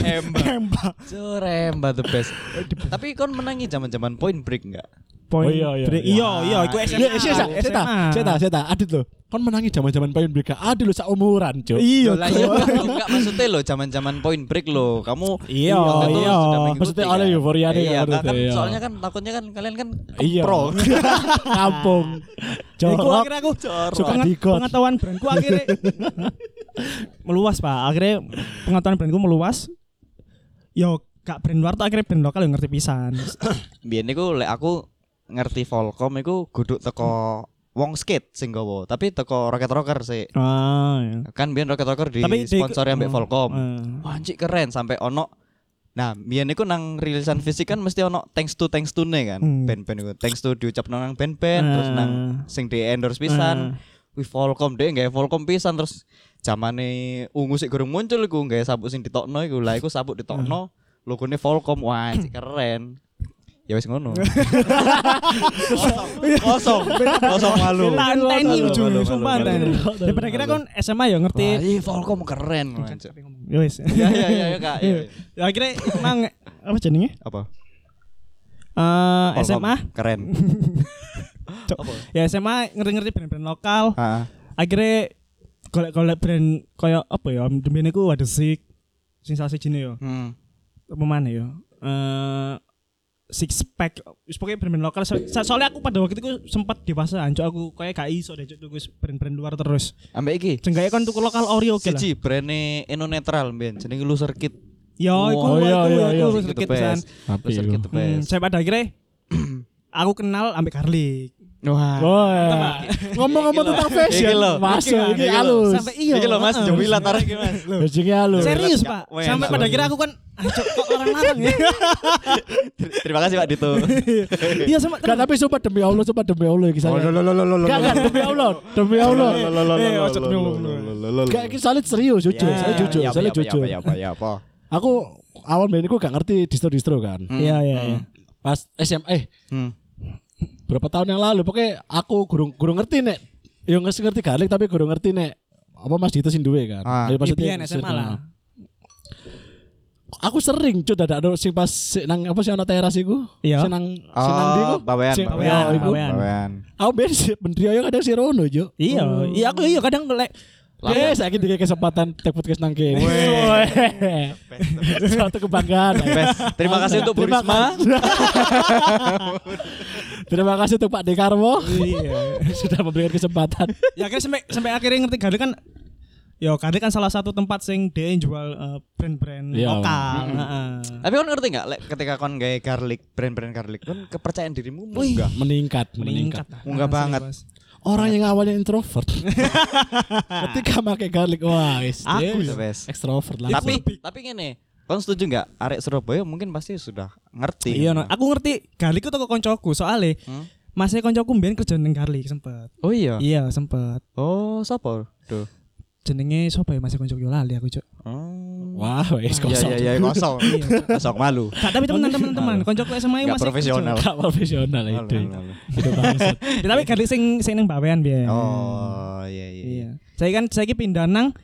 Speaker 2: Emba.
Speaker 3: Tembak.
Speaker 2: Cur, Emba the best. Tapi kon menangi zaman-zaman point break enggak?
Speaker 3: Point
Speaker 1: Oh, iya, iya,
Speaker 3: break.
Speaker 1: iya.
Speaker 3: Iya, iya, iku
Speaker 2: Iya,
Speaker 3: SMA.
Speaker 1: Iya, iya, iya, iya, iya, iya, iya, iya, adit loh. Kan menangi zaman-zaman payun BK, adit loh seumuran cok.
Speaker 3: Iya, iya.
Speaker 2: lah iya enggak, enggak maksudnya lo zaman-zaman point break lo. Kamu
Speaker 3: Iya,
Speaker 2: waktu itu
Speaker 1: iya.
Speaker 2: sudah mengikuti,
Speaker 1: Maksudnya
Speaker 2: kan?
Speaker 1: oleh euforia nih,
Speaker 2: Iya,
Speaker 1: maksudnya,
Speaker 2: kan
Speaker 1: iya.
Speaker 2: soalnya kan takutnya kan kalian kan
Speaker 1: Iya.
Speaker 2: pro.
Speaker 1: Kampung.
Speaker 3: Iku
Speaker 1: Jorok.
Speaker 3: akhirnya aku
Speaker 2: Jorok.
Speaker 1: Suka
Speaker 3: pengen-
Speaker 1: dikot.
Speaker 3: pengetahuan brandku akhirnya meluas, Pak. Akhirnya pengetahuan brandku meluas. Yo, gak brand luar tuh akhirnya brand lokal yang ngerti pisan.
Speaker 2: Biyen niku lek aku ngerti Volcom iku guduk teko wong skate sing gawa, tapi teko Rocket Rocker sih.
Speaker 3: Ah, iya.
Speaker 2: Kan biyen Rocket Rocker di
Speaker 3: Tapi di-
Speaker 2: sponsor ambek
Speaker 3: oh,
Speaker 2: Volcom.
Speaker 3: eh.
Speaker 2: Wah, anjir keren sampai ono Nah, biyen niku nang rilisan fisik kan mesti ono thanks to thanks to ne kan.
Speaker 3: Hmm.
Speaker 2: Band-band iku thanks to diucapno nang band-band terus
Speaker 3: Ah.
Speaker 2: nang sing di endorse pisan. Wih Volcom deh, nggak Volcom pisan terus zamane ungu sik gurung muncul iku nggak sabuk sing ditokno iku lah iku sabuk ditokno logone Volcom wah anjir keren. Ya wis ngono. kosong, kosong, kosong malu.
Speaker 3: Tak enteni ujungnya, sumpah
Speaker 1: malu,
Speaker 3: enteni.
Speaker 1: malu, malu.
Speaker 3: Dan pada akhirnya kan SMA yo ngerti.
Speaker 2: Wah, iya Volcom keren. wah, anjir.
Speaker 3: Yo wis.
Speaker 2: Ya ya ya ya, Kak. ya, ya.
Speaker 3: Ya, Akhirnya nang apa jenenge?
Speaker 2: Apa?
Speaker 3: Eh,
Speaker 2: Volcom.
Speaker 3: SMA
Speaker 2: keren.
Speaker 3: Cok. ya SMA ngerti-ngerti brand-brand lokal
Speaker 2: Heeh.
Speaker 3: akhirnya golek-golek brand koyo apa ya demi niku ada sik sing salah sijine yo
Speaker 2: Hmm.
Speaker 3: apa mana yo eh six pack wis pokoke brand-brand lokal So- soalnya aku pada waktu itu sempat dewasa anjuk aku kayak gak iso deh cuk tuku brand-brand luar terus
Speaker 2: Ambek iki.
Speaker 3: jenggake kon tuku lokal Oreo oke lah
Speaker 2: Siji brandnya Eno Netral ben jenenge Gitu, Loser Kid.
Speaker 3: yo
Speaker 1: Oh,
Speaker 3: iku
Speaker 1: iya,
Speaker 3: iku
Speaker 1: iya, iya.
Speaker 3: iku
Speaker 2: Loser
Speaker 3: sedikit
Speaker 2: Kid the
Speaker 3: pisan
Speaker 2: best.
Speaker 1: Tapi
Speaker 2: Loser Kid
Speaker 1: lu.
Speaker 2: the
Speaker 3: Hmm,
Speaker 2: best.
Speaker 3: saya pada akhirnya aku kenal ambek Harley
Speaker 2: Hmm. Wah.
Speaker 1: Wah. Ngomong-ngomong
Speaker 2: Iki lho.
Speaker 1: tentang
Speaker 2: Iki
Speaker 1: fashion,
Speaker 2: lho.
Speaker 1: masuk
Speaker 3: Iki
Speaker 1: ini
Speaker 3: lho.
Speaker 1: halus.
Speaker 3: sampai iya
Speaker 2: Iki lho Mas
Speaker 3: heeh.
Speaker 2: Jowi Latar iki Mas.
Speaker 1: Basicnya halus.
Speaker 3: serius
Speaker 2: Gak
Speaker 3: pak
Speaker 2: wes,
Speaker 3: sampai pada
Speaker 1: sorry.
Speaker 3: akhirnya aku kan anjuk kok orang larang ya
Speaker 2: Terima kasih Pak Dito.
Speaker 3: iya sama
Speaker 1: Gak tapi sumpah demi Allah, sumpah demi Allah ya, iki
Speaker 2: Oh, lo,
Speaker 1: saya.
Speaker 2: lo, lo, lo, lo, lo,
Speaker 1: Gak gak
Speaker 2: lo.
Speaker 1: demi Allah, demi Ya Allah.
Speaker 3: Eh, eh, ojo demi Allah.
Speaker 1: Gak iki solid serius jujur,
Speaker 2: Ya,
Speaker 1: saya
Speaker 2: ya,
Speaker 1: jujur,
Speaker 2: ya,
Speaker 1: saya
Speaker 2: ya,
Speaker 1: jujur.
Speaker 2: Ya apa ya apa.
Speaker 1: Aku awal main aku gak ngerti distro-distro kan.
Speaker 3: iya iya iya.
Speaker 1: Pas SMA eh
Speaker 2: Hmm.
Speaker 1: berapa tahun yang lalu pokoknya aku gurung gurung ngerti nek yo nggak sih ngerti galik tapi gurung ngerti nek apa mas Dito sing duwe kan
Speaker 2: Ah.
Speaker 1: Ya,
Speaker 3: Iya, biyen SMA lah.
Speaker 1: aku sering cuy dadak ada sing pas sing nang apa sih anak teras iku
Speaker 3: Iya.
Speaker 1: sing nang sing nang ndi iku
Speaker 2: Oh, bawean,
Speaker 1: Sing-
Speaker 2: bawean,
Speaker 1: oh, iku.
Speaker 3: bawean.
Speaker 2: bawean.
Speaker 1: aku ben si menteri ayo kadang si Rono Oh. jo
Speaker 3: Iya, iya aku iya kadang lek
Speaker 1: Eh, saya kira kesempatan take podcast nang kene. Suatu kebanggaan.
Speaker 2: Best. Terima kasih untuk Bu
Speaker 1: Terima
Speaker 2: Risma.
Speaker 1: kasih. Terima kasih untuk Pak Dekarwo
Speaker 3: iya.
Speaker 1: sudah memberikan kesempatan.
Speaker 3: ya akhirnya sampai sampai akhirnya ngerti Gade kan Ya Gade kan salah satu tempat sing dia yang jual eh, brand-brand
Speaker 1: Iya.
Speaker 3: lokal. Heeh.
Speaker 2: Tapi kon ngerti enggak lek ketika kon gawe garlic, brand-brand garlic, kon kepercayaan dirimu munggah.
Speaker 1: Meningkat, meningkat.
Speaker 3: Meningkat.
Speaker 2: Munggah
Speaker 3: Asli,
Speaker 2: banget.
Speaker 3: Mas.
Speaker 1: Orang yang awalnya introvert ketika pakai garlic wah wis
Speaker 3: Aku
Speaker 1: dia
Speaker 2: The best.
Speaker 1: ekstrovert lah.
Speaker 2: Iya, Tapi tapi ngene, kon setuju enggak? Arek Surabaya mungkin pasti sudah ngerti.
Speaker 3: Iya, no. aku ngerti Garlic itu toko koncoku soalnya
Speaker 2: Hmm?
Speaker 3: masih koncoku mbien kerja neng Garlic sempet.
Speaker 2: Oh iya.
Speaker 3: Iya, sempet.
Speaker 2: Oh, sapa? Duh.
Speaker 3: Jenenge sapa ya masih koncoku lali aku, Cuk.
Speaker 2: Oh.
Speaker 1: Wah, wis kosong.
Speaker 2: Iya, iya, iya, kosong. kosong malu.
Speaker 3: Gak, tapi teman-teman teman, koncoku SMA
Speaker 2: Gak
Speaker 3: masih
Speaker 2: profesional.
Speaker 1: Gak profesional lah
Speaker 2: Malu,
Speaker 1: itu.
Speaker 2: malu, malu.
Speaker 1: Itu bangsat.
Speaker 3: kerja. Ya, tapi Garlic sing sing neng bawean biyen.
Speaker 2: Oh, iya iya. iya.
Speaker 3: Iya. Saya kan saya ki pindah nang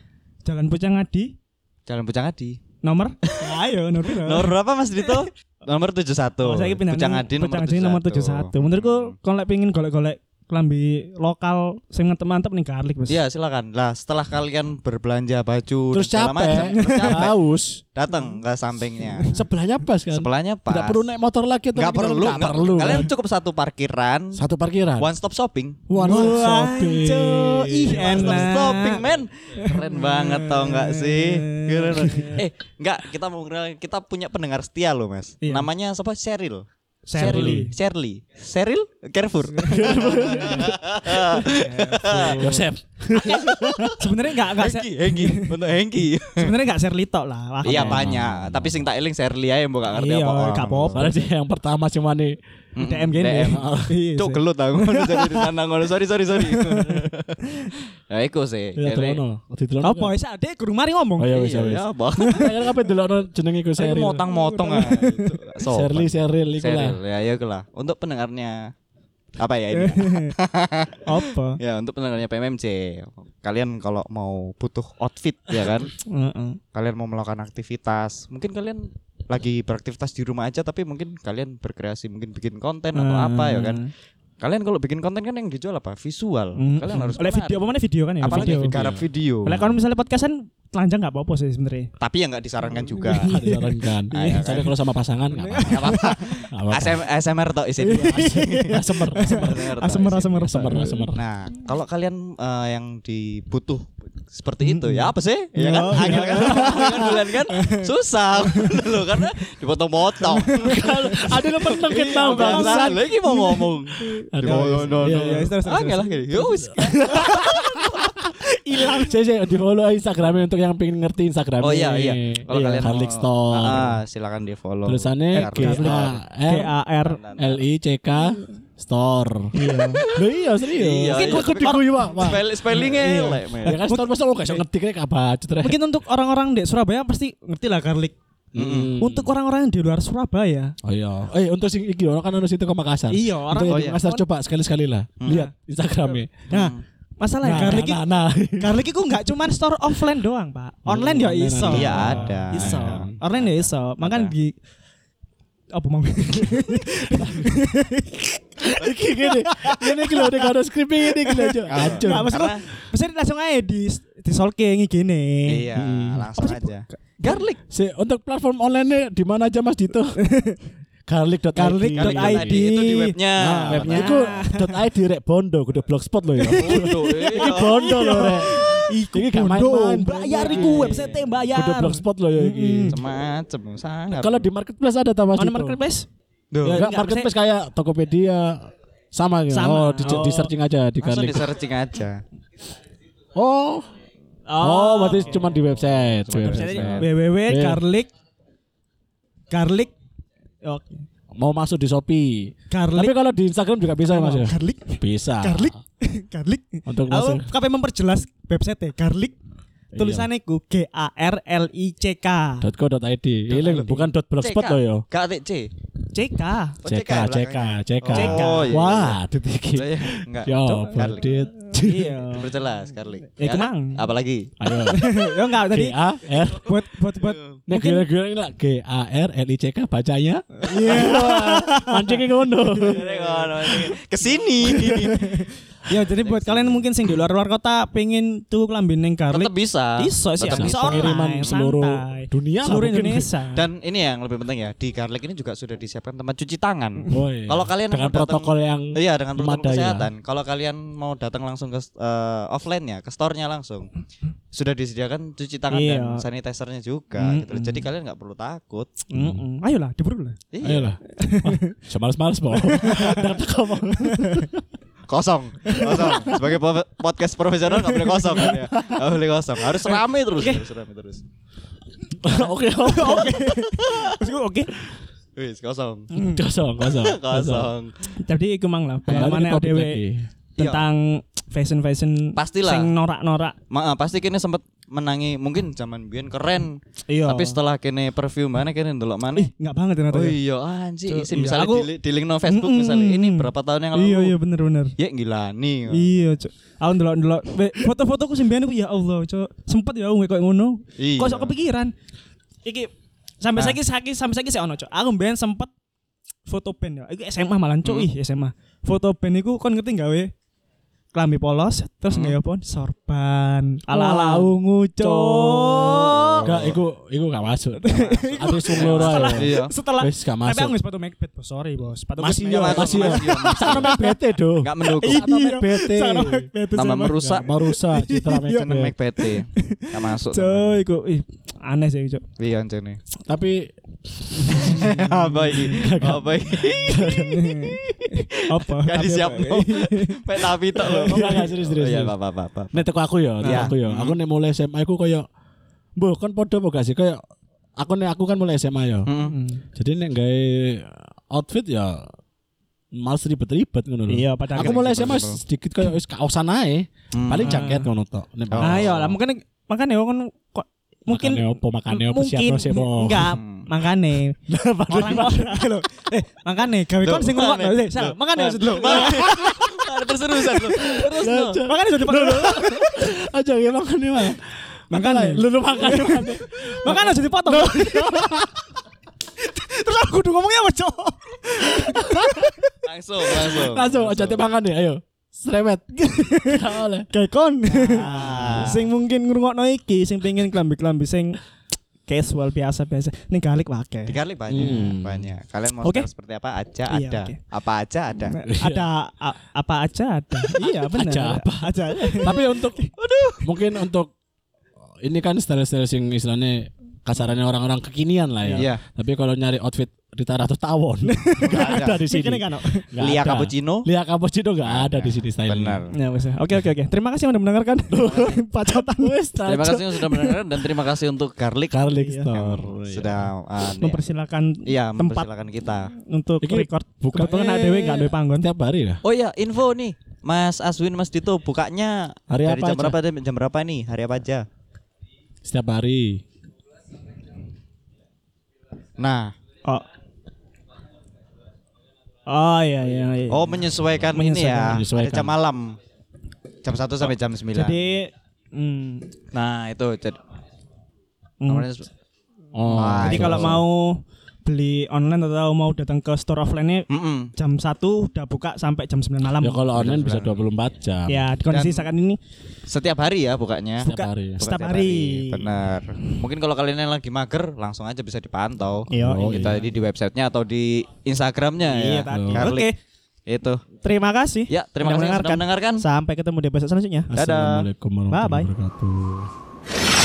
Speaker 3: Jalan Pucang Adi
Speaker 2: Jalan Pucang Adi.
Speaker 3: nomor ayo nomor piro?
Speaker 2: Nomor berapa Mas Dito? nomor 71.
Speaker 3: Oh, saya ki pindah
Speaker 2: Pucang
Speaker 3: nang
Speaker 2: Adi
Speaker 3: Pucang Adi nomor 71. Menurutku kalau pengen golek-golek klambi lokal sing mantep-mantep nih garlic wis.
Speaker 2: Iya silakan. Lah setelah kalian berbelanja baju
Speaker 1: Terus
Speaker 2: dan segala macam,
Speaker 1: capek,
Speaker 2: terus capek,
Speaker 1: haus.
Speaker 2: datang ke sampingnya.
Speaker 1: Sebelahnya pas kan.
Speaker 2: Sebelahnya pas.
Speaker 1: Tidak perlu naik motor lagi atau
Speaker 2: Nggak
Speaker 1: kita-
Speaker 2: perlu.
Speaker 1: nggak
Speaker 2: nggak-
Speaker 1: perlu.
Speaker 2: Kalian
Speaker 1: kan.
Speaker 2: cukup satu parkiran,
Speaker 1: satu parkiran.
Speaker 2: one stop shopping.
Speaker 1: One
Speaker 3: Wah,
Speaker 1: shopping.
Speaker 3: cuk. Ih,
Speaker 2: One stop
Speaker 3: enak.
Speaker 2: shopping men. Keren banget tau nggak sih? Keren. eh nggak kita mau kenal- kita punya pendengar setia loh mas.
Speaker 3: Iya.
Speaker 2: Namanya siapa? Cheryl.
Speaker 3: Sherly.
Speaker 2: Shirley. Cheryl? Carrefour.
Speaker 1: Yosef.
Speaker 3: Sebenarnya enggak enggak
Speaker 2: Hengki, Hengki, untuk Hengki.
Speaker 3: sebenarnya enggak Sherly tok lah.
Speaker 2: Iya
Speaker 1: Emang.
Speaker 2: banyak, tapi sing tak eling Shirley aja mbok gak ngerti
Speaker 3: Ah, Iya,
Speaker 2: apa-apa.
Speaker 3: gak apa-apa.
Speaker 1: Soalnya dia yang pertama cuma nih.
Speaker 2: Mm-mm,
Speaker 3: DM gini.
Speaker 2: DM.
Speaker 3: Iya,
Speaker 2: Cuk
Speaker 3: sih.
Speaker 2: gelut aku ngono jadi di sana ngono. Sorry sorry sorry. Ya iku sih.
Speaker 1: Ya
Speaker 3: Iya,
Speaker 2: Jadi-
Speaker 1: telono. kan? Ditelono.
Speaker 3: Apa wis adek guru mari ngomong.
Speaker 1: Oh ya wis ya
Speaker 2: Iya,
Speaker 1: wis.
Speaker 2: ya, apa?
Speaker 1: Akhirnya kabeh delokno jenenge iku
Speaker 2: Saya
Speaker 1: Seril.
Speaker 2: motong-motong ah.
Speaker 1: Serli Seril iku lah.
Speaker 2: Seril, ya ya iku lah. Untuk pendengarnya apa ya ini?
Speaker 3: Apa?
Speaker 2: ya untuk pendengarnya PMMC. Kalian kalau mau butuh outfit ya kan,
Speaker 3: Heeh.
Speaker 2: kalian mau melakukan aktivitas, mungkin kalian lagi beraktivitas di rumah aja tapi mungkin kalian berkreasi mungkin bikin konten atau
Speaker 3: Hmm.
Speaker 2: apa ya kan kalian kalau bikin konten kan yang dijual apa visual
Speaker 3: Mm.
Speaker 2: kalian harus
Speaker 3: oleh video
Speaker 2: menarik.
Speaker 3: apa mana video kan ya?
Speaker 2: apalagi
Speaker 3: video.
Speaker 2: garap video
Speaker 3: Oleh kalau misalnya podcast kan telanjang enggak apa-apa sih sebenarnya.
Speaker 2: tapi ya nggak disarankan juga
Speaker 1: Ah, disarankan.
Speaker 2: Iya.
Speaker 1: Soalnya kalau sama pasangan enggak apa-apa.
Speaker 2: Nggak apa-apa
Speaker 1: Nggak apa-apa.
Speaker 2: ASM, ASMR toh isinya
Speaker 1: Asemer, asemer,
Speaker 2: ASMR toh
Speaker 3: Asemer
Speaker 2: isinya.
Speaker 3: asemer
Speaker 1: asemer, asemer.
Speaker 2: nah kalau kalian eh, yang dibutuh seperti itu ya apa sih ya kan
Speaker 3: Oh,
Speaker 2: akhir kan kan bulan kan susah loh karena dipotong-potong
Speaker 1: kan. Ada yang menang kita
Speaker 2: Bangsat. lagi mau ngomong
Speaker 1: Ada.
Speaker 3: Iya, iya, terus, terus,
Speaker 2: ah nggak lah gini. Yo, wis.
Speaker 1: Hilang. Saya saya di follow aja Instagramnya untuk yang pengen ngerti Instagramnya.
Speaker 2: oh iya iya kalau kalian mau-
Speaker 1: Harlik Store.
Speaker 2: Ah, silakan di follow
Speaker 1: Tulisannya G A
Speaker 3: G
Speaker 2: Eh?
Speaker 1: R
Speaker 3: A R.
Speaker 1: L I C K Store. Iya. Loh iya serius.
Speaker 2: Iya,
Speaker 1: Mungkin
Speaker 2: iya.
Speaker 1: kok diguyu Pak. Pak.
Speaker 2: Spell, spellingnya elek, men.
Speaker 1: Ya kan store masa kok gak iso ngerti kayak apa cetre.
Speaker 3: Mungkin untuk orang-orang di Surabaya pasti ngerti lah garlic.
Speaker 1: Mm.
Speaker 2: Hmm.
Speaker 3: Untuk orang-orang yang di luar Surabaya,
Speaker 1: Oh iya. Eh untuk sing iki orang kan ono situ ke Makassar.
Speaker 3: Iya,
Speaker 1: Untuk
Speaker 3: orang-
Speaker 1: yang
Speaker 2: oh
Speaker 1: di
Speaker 2: iya.
Speaker 1: Makassar coba sekali-sekali lah. Lihat Instagramnya.
Speaker 3: nah
Speaker 2: Hmm.
Speaker 3: masalah
Speaker 1: Nah,
Speaker 3: garlic
Speaker 1: nah, nah.
Speaker 3: garlic itu nggak cuma store offline doang pak, online ya
Speaker 1: online
Speaker 3: iso.
Speaker 1: ada.
Speaker 2: Iya, ada.
Speaker 3: Iso, online ya iso. Makan
Speaker 2: Ada.
Speaker 3: di apa mau?
Speaker 1: Iki gini. Ini iki lho nek ada skrip ini iki lho. Cok. Hancur.
Speaker 3: Nggak maksudku, maksudnya langsung aja di di solking gini.
Speaker 2: Iya, langsung aja.
Speaker 3: Garlic.
Speaker 1: Si, untuk platform online di mana aja Mas Dito? Garlic.id.
Speaker 3: Garlic.id.
Speaker 2: Garlic.id. Itu di webnya. Iya.
Speaker 1: Nah, webnya
Speaker 3: Nah.
Speaker 1: iku .id rek bondo kudu blogspot lho ya.
Speaker 2: Bodoh,
Speaker 1: Iki bondo lho rek. Iku gak main-main.
Speaker 3: bayar
Speaker 1: Iki.
Speaker 3: iku website bayar.
Speaker 1: Kudu blogspot lho ya iki.
Speaker 2: hmm. Macem-macem sangat.
Speaker 1: Kalau di marketplace ada tambah
Speaker 3: Mana marketplace?
Speaker 1: Ya,
Speaker 3: Enggak,
Speaker 1: enggak, marketplace kayak Tokopedia sama gitu.
Speaker 3: Sama.
Speaker 1: Oh, di, di
Speaker 3: Oh.
Speaker 1: searching aja di
Speaker 2: langsung
Speaker 1: Garlic.
Speaker 2: di searching aja.
Speaker 1: Oh. Oh, berarti cuma di website. Di
Speaker 3: Jadi
Speaker 1: website.
Speaker 3: www
Speaker 1: Eh,
Speaker 3: garlic garlic oke
Speaker 1: Mau masuk di Shopee. Tapi
Speaker 3: garlic
Speaker 1: kalau di Instagram juga bisa Mas ya?
Speaker 3: garlic
Speaker 1: Bisa.
Speaker 3: garlic garlic
Speaker 1: Untuk
Speaker 3: aku
Speaker 1: masuk.
Speaker 3: kape memperjelas website ya garlic
Speaker 1: Iya.
Speaker 3: tulisannya ku G A R L I C K
Speaker 1: .co.id. Iling bukan .blogspot
Speaker 2: CK.
Speaker 1: loh yo.
Speaker 2: Gak ada C.
Speaker 3: C K
Speaker 2: Oh,
Speaker 1: CK, CK, CK.
Speaker 3: CK.
Speaker 2: Oh, iya.
Speaker 1: Wah, Ya, detik.
Speaker 2: Saya enggak.
Speaker 1: Yo,
Speaker 2: Garlic.
Speaker 1: Berdit.
Speaker 3: iya
Speaker 2: Diperjelas
Speaker 1: Eh,
Speaker 2: Garlic.
Speaker 3: Ya, itu mang.
Speaker 2: Apalagi?
Speaker 1: Ayo.
Speaker 3: ya enggak
Speaker 1: G
Speaker 3: tadi
Speaker 1: A R.
Speaker 3: buat buat buat
Speaker 1: Nek gila-gila ini lah G A R L I C K bacanya. Iya. Mancingnya ngono.
Speaker 2: Kesini.
Speaker 3: ya jadi buat kalian mungkin sing di luar luar kota pengen tuh lambin neng garlic
Speaker 2: Tetap bisa.
Speaker 3: iso sih
Speaker 2: Tetap
Speaker 3: bisa
Speaker 2: Iya, bisa.
Speaker 3: online,
Speaker 1: Pengiriman seluruh
Speaker 3: santai.
Speaker 1: dunia lah
Speaker 3: seluruh
Speaker 1: Ya, mungkin.
Speaker 3: Indonesia
Speaker 2: Dan ini yang lebih penting ya, di Garlic ini juga sudah disiapkan tempat cuci tangan.
Speaker 1: Oh, iya.
Speaker 2: Kalau kalian
Speaker 1: dengan
Speaker 2: mau datang-
Speaker 1: protokol yang
Speaker 2: Iya dengan
Speaker 3: ya.
Speaker 2: protokol
Speaker 1: memadai lah.
Speaker 2: kesehatan. Kalau kalian mau datang langsung ke offline ya, ke store-nya langsung sudah disediakan cuci tangan
Speaker 3: Iya.
Speaker 2: dan sanitizer-nya juga. gitu loh. Jadi kalian nggak perlu takut. Iya,
Speaker 3: Mm-mm. ayolah diburu lah
Speaker 1: Ayo lah. Semalas-malas mau. Datang kamu.
Speaker 2: Kosong, kosong. Sebagai po- podcast profesional nggak boleh kosong kan ya. Nggak boleh kosong. Harus rame terus, harus rame terus.
Speaker 1: Oke, oke.
Speaker 3: Terus gue, oke
Speaker 2: Wis kosong,
Speaker 1: Kosong, kosong.
Speaker 2: kosong.
Speaker 3: jadi iku mang lah
Speaker 1: Kembali
Speaker 3: pengalamannya
Speaker 1: ke topik
Speaker 3: ODW
Speaker 1: lagi.
Speaker 3: tentang fashion fashion
Speaker 2: Pastilah.
Speaker 3: sing norak norak
Speaker 2: Ma, ah, pasti kini sempat menangi mungkin zaman biyen keren.
Speaker 3: iya
Speaker 2: Tapi setelah kini perfume mana kini ndelok mana?
Speaker 3: ih nggak banget ternyata
Speaker 2: Oh
Speaker 3: ya.
Speaker 2: iya anjir,
Speaker 3: Cuk,
Speaker 2: Isi,
Speaker 3: iya.
Speaker 2: misalnya
Speaker 3: Aku-
Speaker 2: di, di link no Facebook
Speaker 3: Mm-mm.
Speaker 2: misalnya ini berapa tahun yang lalu?
Speaker 3: iya iya bener bener
Speaker 2: Ya gila nih.
Speaker 3: iya cok aku ndelok ndelok Be- foto-fotoku sembilan aku ya Allah cok sempet ya aku kayak ngono
Speaker 2: Iya.
Speaker 3: Nah. kok sok kepikiran iki sampai saiki saiki sampai saiki sih ono cok aku mbien sempet foto band ya. Iku SMA malan cuk, ih SMA. Foto band iku kon ngerti gawe klambi polos terus nggawe apa? Sorban. Ala-ala ungu cuk.
Speaker 1: Enggak, iku iku gak masuk. Ati sung loro
Speaker 3: Setelah
Speaker 1: ae.
Speaker 2: Iya.
Speaker 3: setelah
Speaker 1: Wis gak
Speaker 3: tapi aku
Speaker 1: masuk.
Speaker 3: nggak sepatu Macbeth, bos. Sorry, bos. Sepatu
Speaker 1: Masih yo,
Speaker 2: Iya,
Speaker 3: ya.
Speaker 1: masih yo.
Speaker 2: masih yo, masih
Speaker 1: Sakno MBT do.
Speaker 2: Enggak
Speaker 3: Iya,
Speaker 2: mendukung.
Speaker 1: Sakno MBT.
Speaker 3: Sama Macbeth itu
Speaker 2: Tambah
Speaker 3: sama.
Speaker 2: merusak
Speaker 1: Merusak
Speaker 3: Iya,
Speaker 1: citra
Speaker 2: jeneng
Speaker 1: MBT.
Speaker 2: MacBT. Enggak masuk.
Speaker 3: Cuk, iku ih aneh sih cuk.
Speaker 2: Iya jene.
Speaker 1: Tapi
Speaker 2: Apa iki? Apa iki?
Speaker 3: Apa?
Speaker 2: Gak
Speaker 3: Tapi
Speaker 2: disiapno.
Speaker 3: apa?
Speaker 2: Pek tapi tok lho.
Speaker 1: Enggak, enggak, serius, serius,
Speaker 2: Iya,
Speaker 1: serius.
Speaker 2: apa-apa.
Speaker 1: nek teko aku ya, teko
Speaker 2: Iya.
Speaker 1: aku ya. Aku nek mulai SMA aku koyo Mbah, kan padha apa gak sih koyo aku nek aku kan mulai SMA ya.
Speaker 3: Hmm.
Speaker 1: Jadi nek gawe outfit ya males ribet-ribet ngono lho.
Speaker 3: Iya, pada
Speaker 1: Aku
Speaker 3: akhirnya.
Speaker 1: mulai
Speaker 2: ribet,
Speaker 1: SMA
Speaker 2: betul.
Speaker 1: sedikit koyo wis kaosan ae.
Speaker 2: Hmm.
Speaker 1: Paling jaket ngono tok. Nek
Speaker 2: Oh.
Speaker 3: Ayo Ah, iya lah, mungkin makanya kan kok mungkin
Speaker 1: makane opo makane opo
Speaker 3: mungkin
Speaker 1: siapa siapa.
Speaker 3: enggak
Speaker 2: Hmm.
Speaker 3: makane orang-orang lho eh makane gawe kon sing ngomong lho eh, sal makane maksud lho
Speaker 2: Terus terusan lho. Terus lho.
Speaker 3: makane sudah dipakai
Speaker 1: Aja ya makane wae.
Speaker 3: makane
Speaker 1: Lu lu makane makane.
Speaker 3: makane sudah dipotong terus aku kudu ngomongnya apa cok
Speaker 2: Langsung, langsung.
Speaker 1: Langsung aja teh makane ayo. Srewet. Gak oleh.
Speaker 3: gawe kon
Speaker 2: Ah.
Speaker 3: sing mungkin ngrungokno iki sing pengen klambi-klambi sing casual biasa-biasa ning galik
Speaker 2: Di
Speaker 3: wae
Speaker 2: Kali banyak, banyak. Kalian mau
Speaker 3: Oke.
Speaker 2: style seperti apa aja
Speaker 3: Iya,
Speaker 2: ada.
Speaker 3: oke.
Speaker 2: Apa aja ada.
Speaker 3: ada a- apa aja ada iya benar
Speaker 1: Aja apa?
Speaker 3: aja
Speaker 1: Tapi untuk mungkin untuk ini kan style-style sing istilahnya kasarannya orang-orang kekinian lah ya.
Speaker 2: Iya.
Speaker 1: Tapi kalau nyari outfit Rita Ratu Tawon nggak ada di sini.
Speaker 3: Kene kan, no?
Speaker 1: Nggak
Speaker 2: Lia
Speaker 1: ada.
Speaker 2: cappuccino.
Speaker 1: Lia Cappuccino nggak ada di sini style.
Speaker 2: Benar.
Speaker 3: Ya, wes. Oke, oke, oke. Terima kasih sudah mendengarkan. Pacotan. Wes,
Speaker 2: Terima kasih yang sudah mendengarkan dan terima kasih untuk Garlic
Speaker 1: Garlic
Speaker 3: Iya.
Speaker 1: Store.
Speaker 2: sudah ah,
Speaker 3: Mempersilakan
Speaker 2: iya
Speaker 3: tempat.
Speaker 2: mempersilakan kita.
Speaker 3: untuk
Speaker 1: Iki
Speaker 3: record. Iya,
Speaker 1: buka-
Speaker 3: Kebetulan ada dewe enggak ada panggon.
Speaker 1: Setiap hari ya.
Speaker 2: Oh iya, info nih. Mas Aswin, Mas Dito bukanya
Speaker 1: Hari
Speaker 2: dari
Speaker 1: apa
Speaker 2: jam
Speaker 1: aja?
Speaker 2: berapa sampai jam berapa nih? Hari apa aja?
Speaker 1: Setiap hari.
Speaker 2: Nah,
Speaker 3: Oh. Oh iya iya. iya.
Speaker 2: oh menyesuaikan,
Speaker 3: Menyesuaikan,
Speaker 2: ini ya.
Speaker 1: menyesuaikan.
Speaker 2: Ada jam malam. Jam 1 sampai jam 9.
Speaker 3: Jadi hmm,
Speaker 2: nah, itu. Jadi,
Speaker 3: hmm.
Speaker 2: nomornya se-
Speaker 1: Oh.
Speaker 2: Ah,
Speaker 3: Jadi
Speaker 2: itu.
Speaker 3: kalau mau beli online atau mau datang ke store offline-nya
Speaker 2: Mm-mm.
Speaker 3: jam 1 udah buka sampai jam 9 malam.
Speaker 1: Ya kalau online bisa 24 jam.
Speaker 3: Ya, di kondisi
Speaker 2: Dan-
Speaker 3: saat ini
Speaker 2: Setiap hari ya bukanya.
Speaker 1: Setiap hari.
Speaker 2: Buka
Speaker 3: setiap
Speaker 2: tiap
Speaker 3: hari. Iya,
Speaker 2: Benar. Mungkin kalau kalian yang lagi mager, langsung aja bisa dipantau.
Speaker 3: Iya.
Speaker 1: Oh,
Speaker 2: kita
Speaker 1: iya.
Speaker 2: di, di websitenya atau di Instagramnya
Speaker 3: Iya
Speaker 2: ya.
Speaker 3: tadi.
Speaker 2: Garlic.
Speaker 3: Oke,
Speaker 2: Itu.
Speaker 3: terima kasih.
Speaker 2: Ya, terima kasih sudah mendengarkan.
Speaker 3: Sampai ketemu di episode selanjutnya.
Speaker 2: Dadah.
Speaker 1: Assalamualaikum warahmatullahi
Speaker 3: Bye-bye.
Speaker 1: wabarakatuh.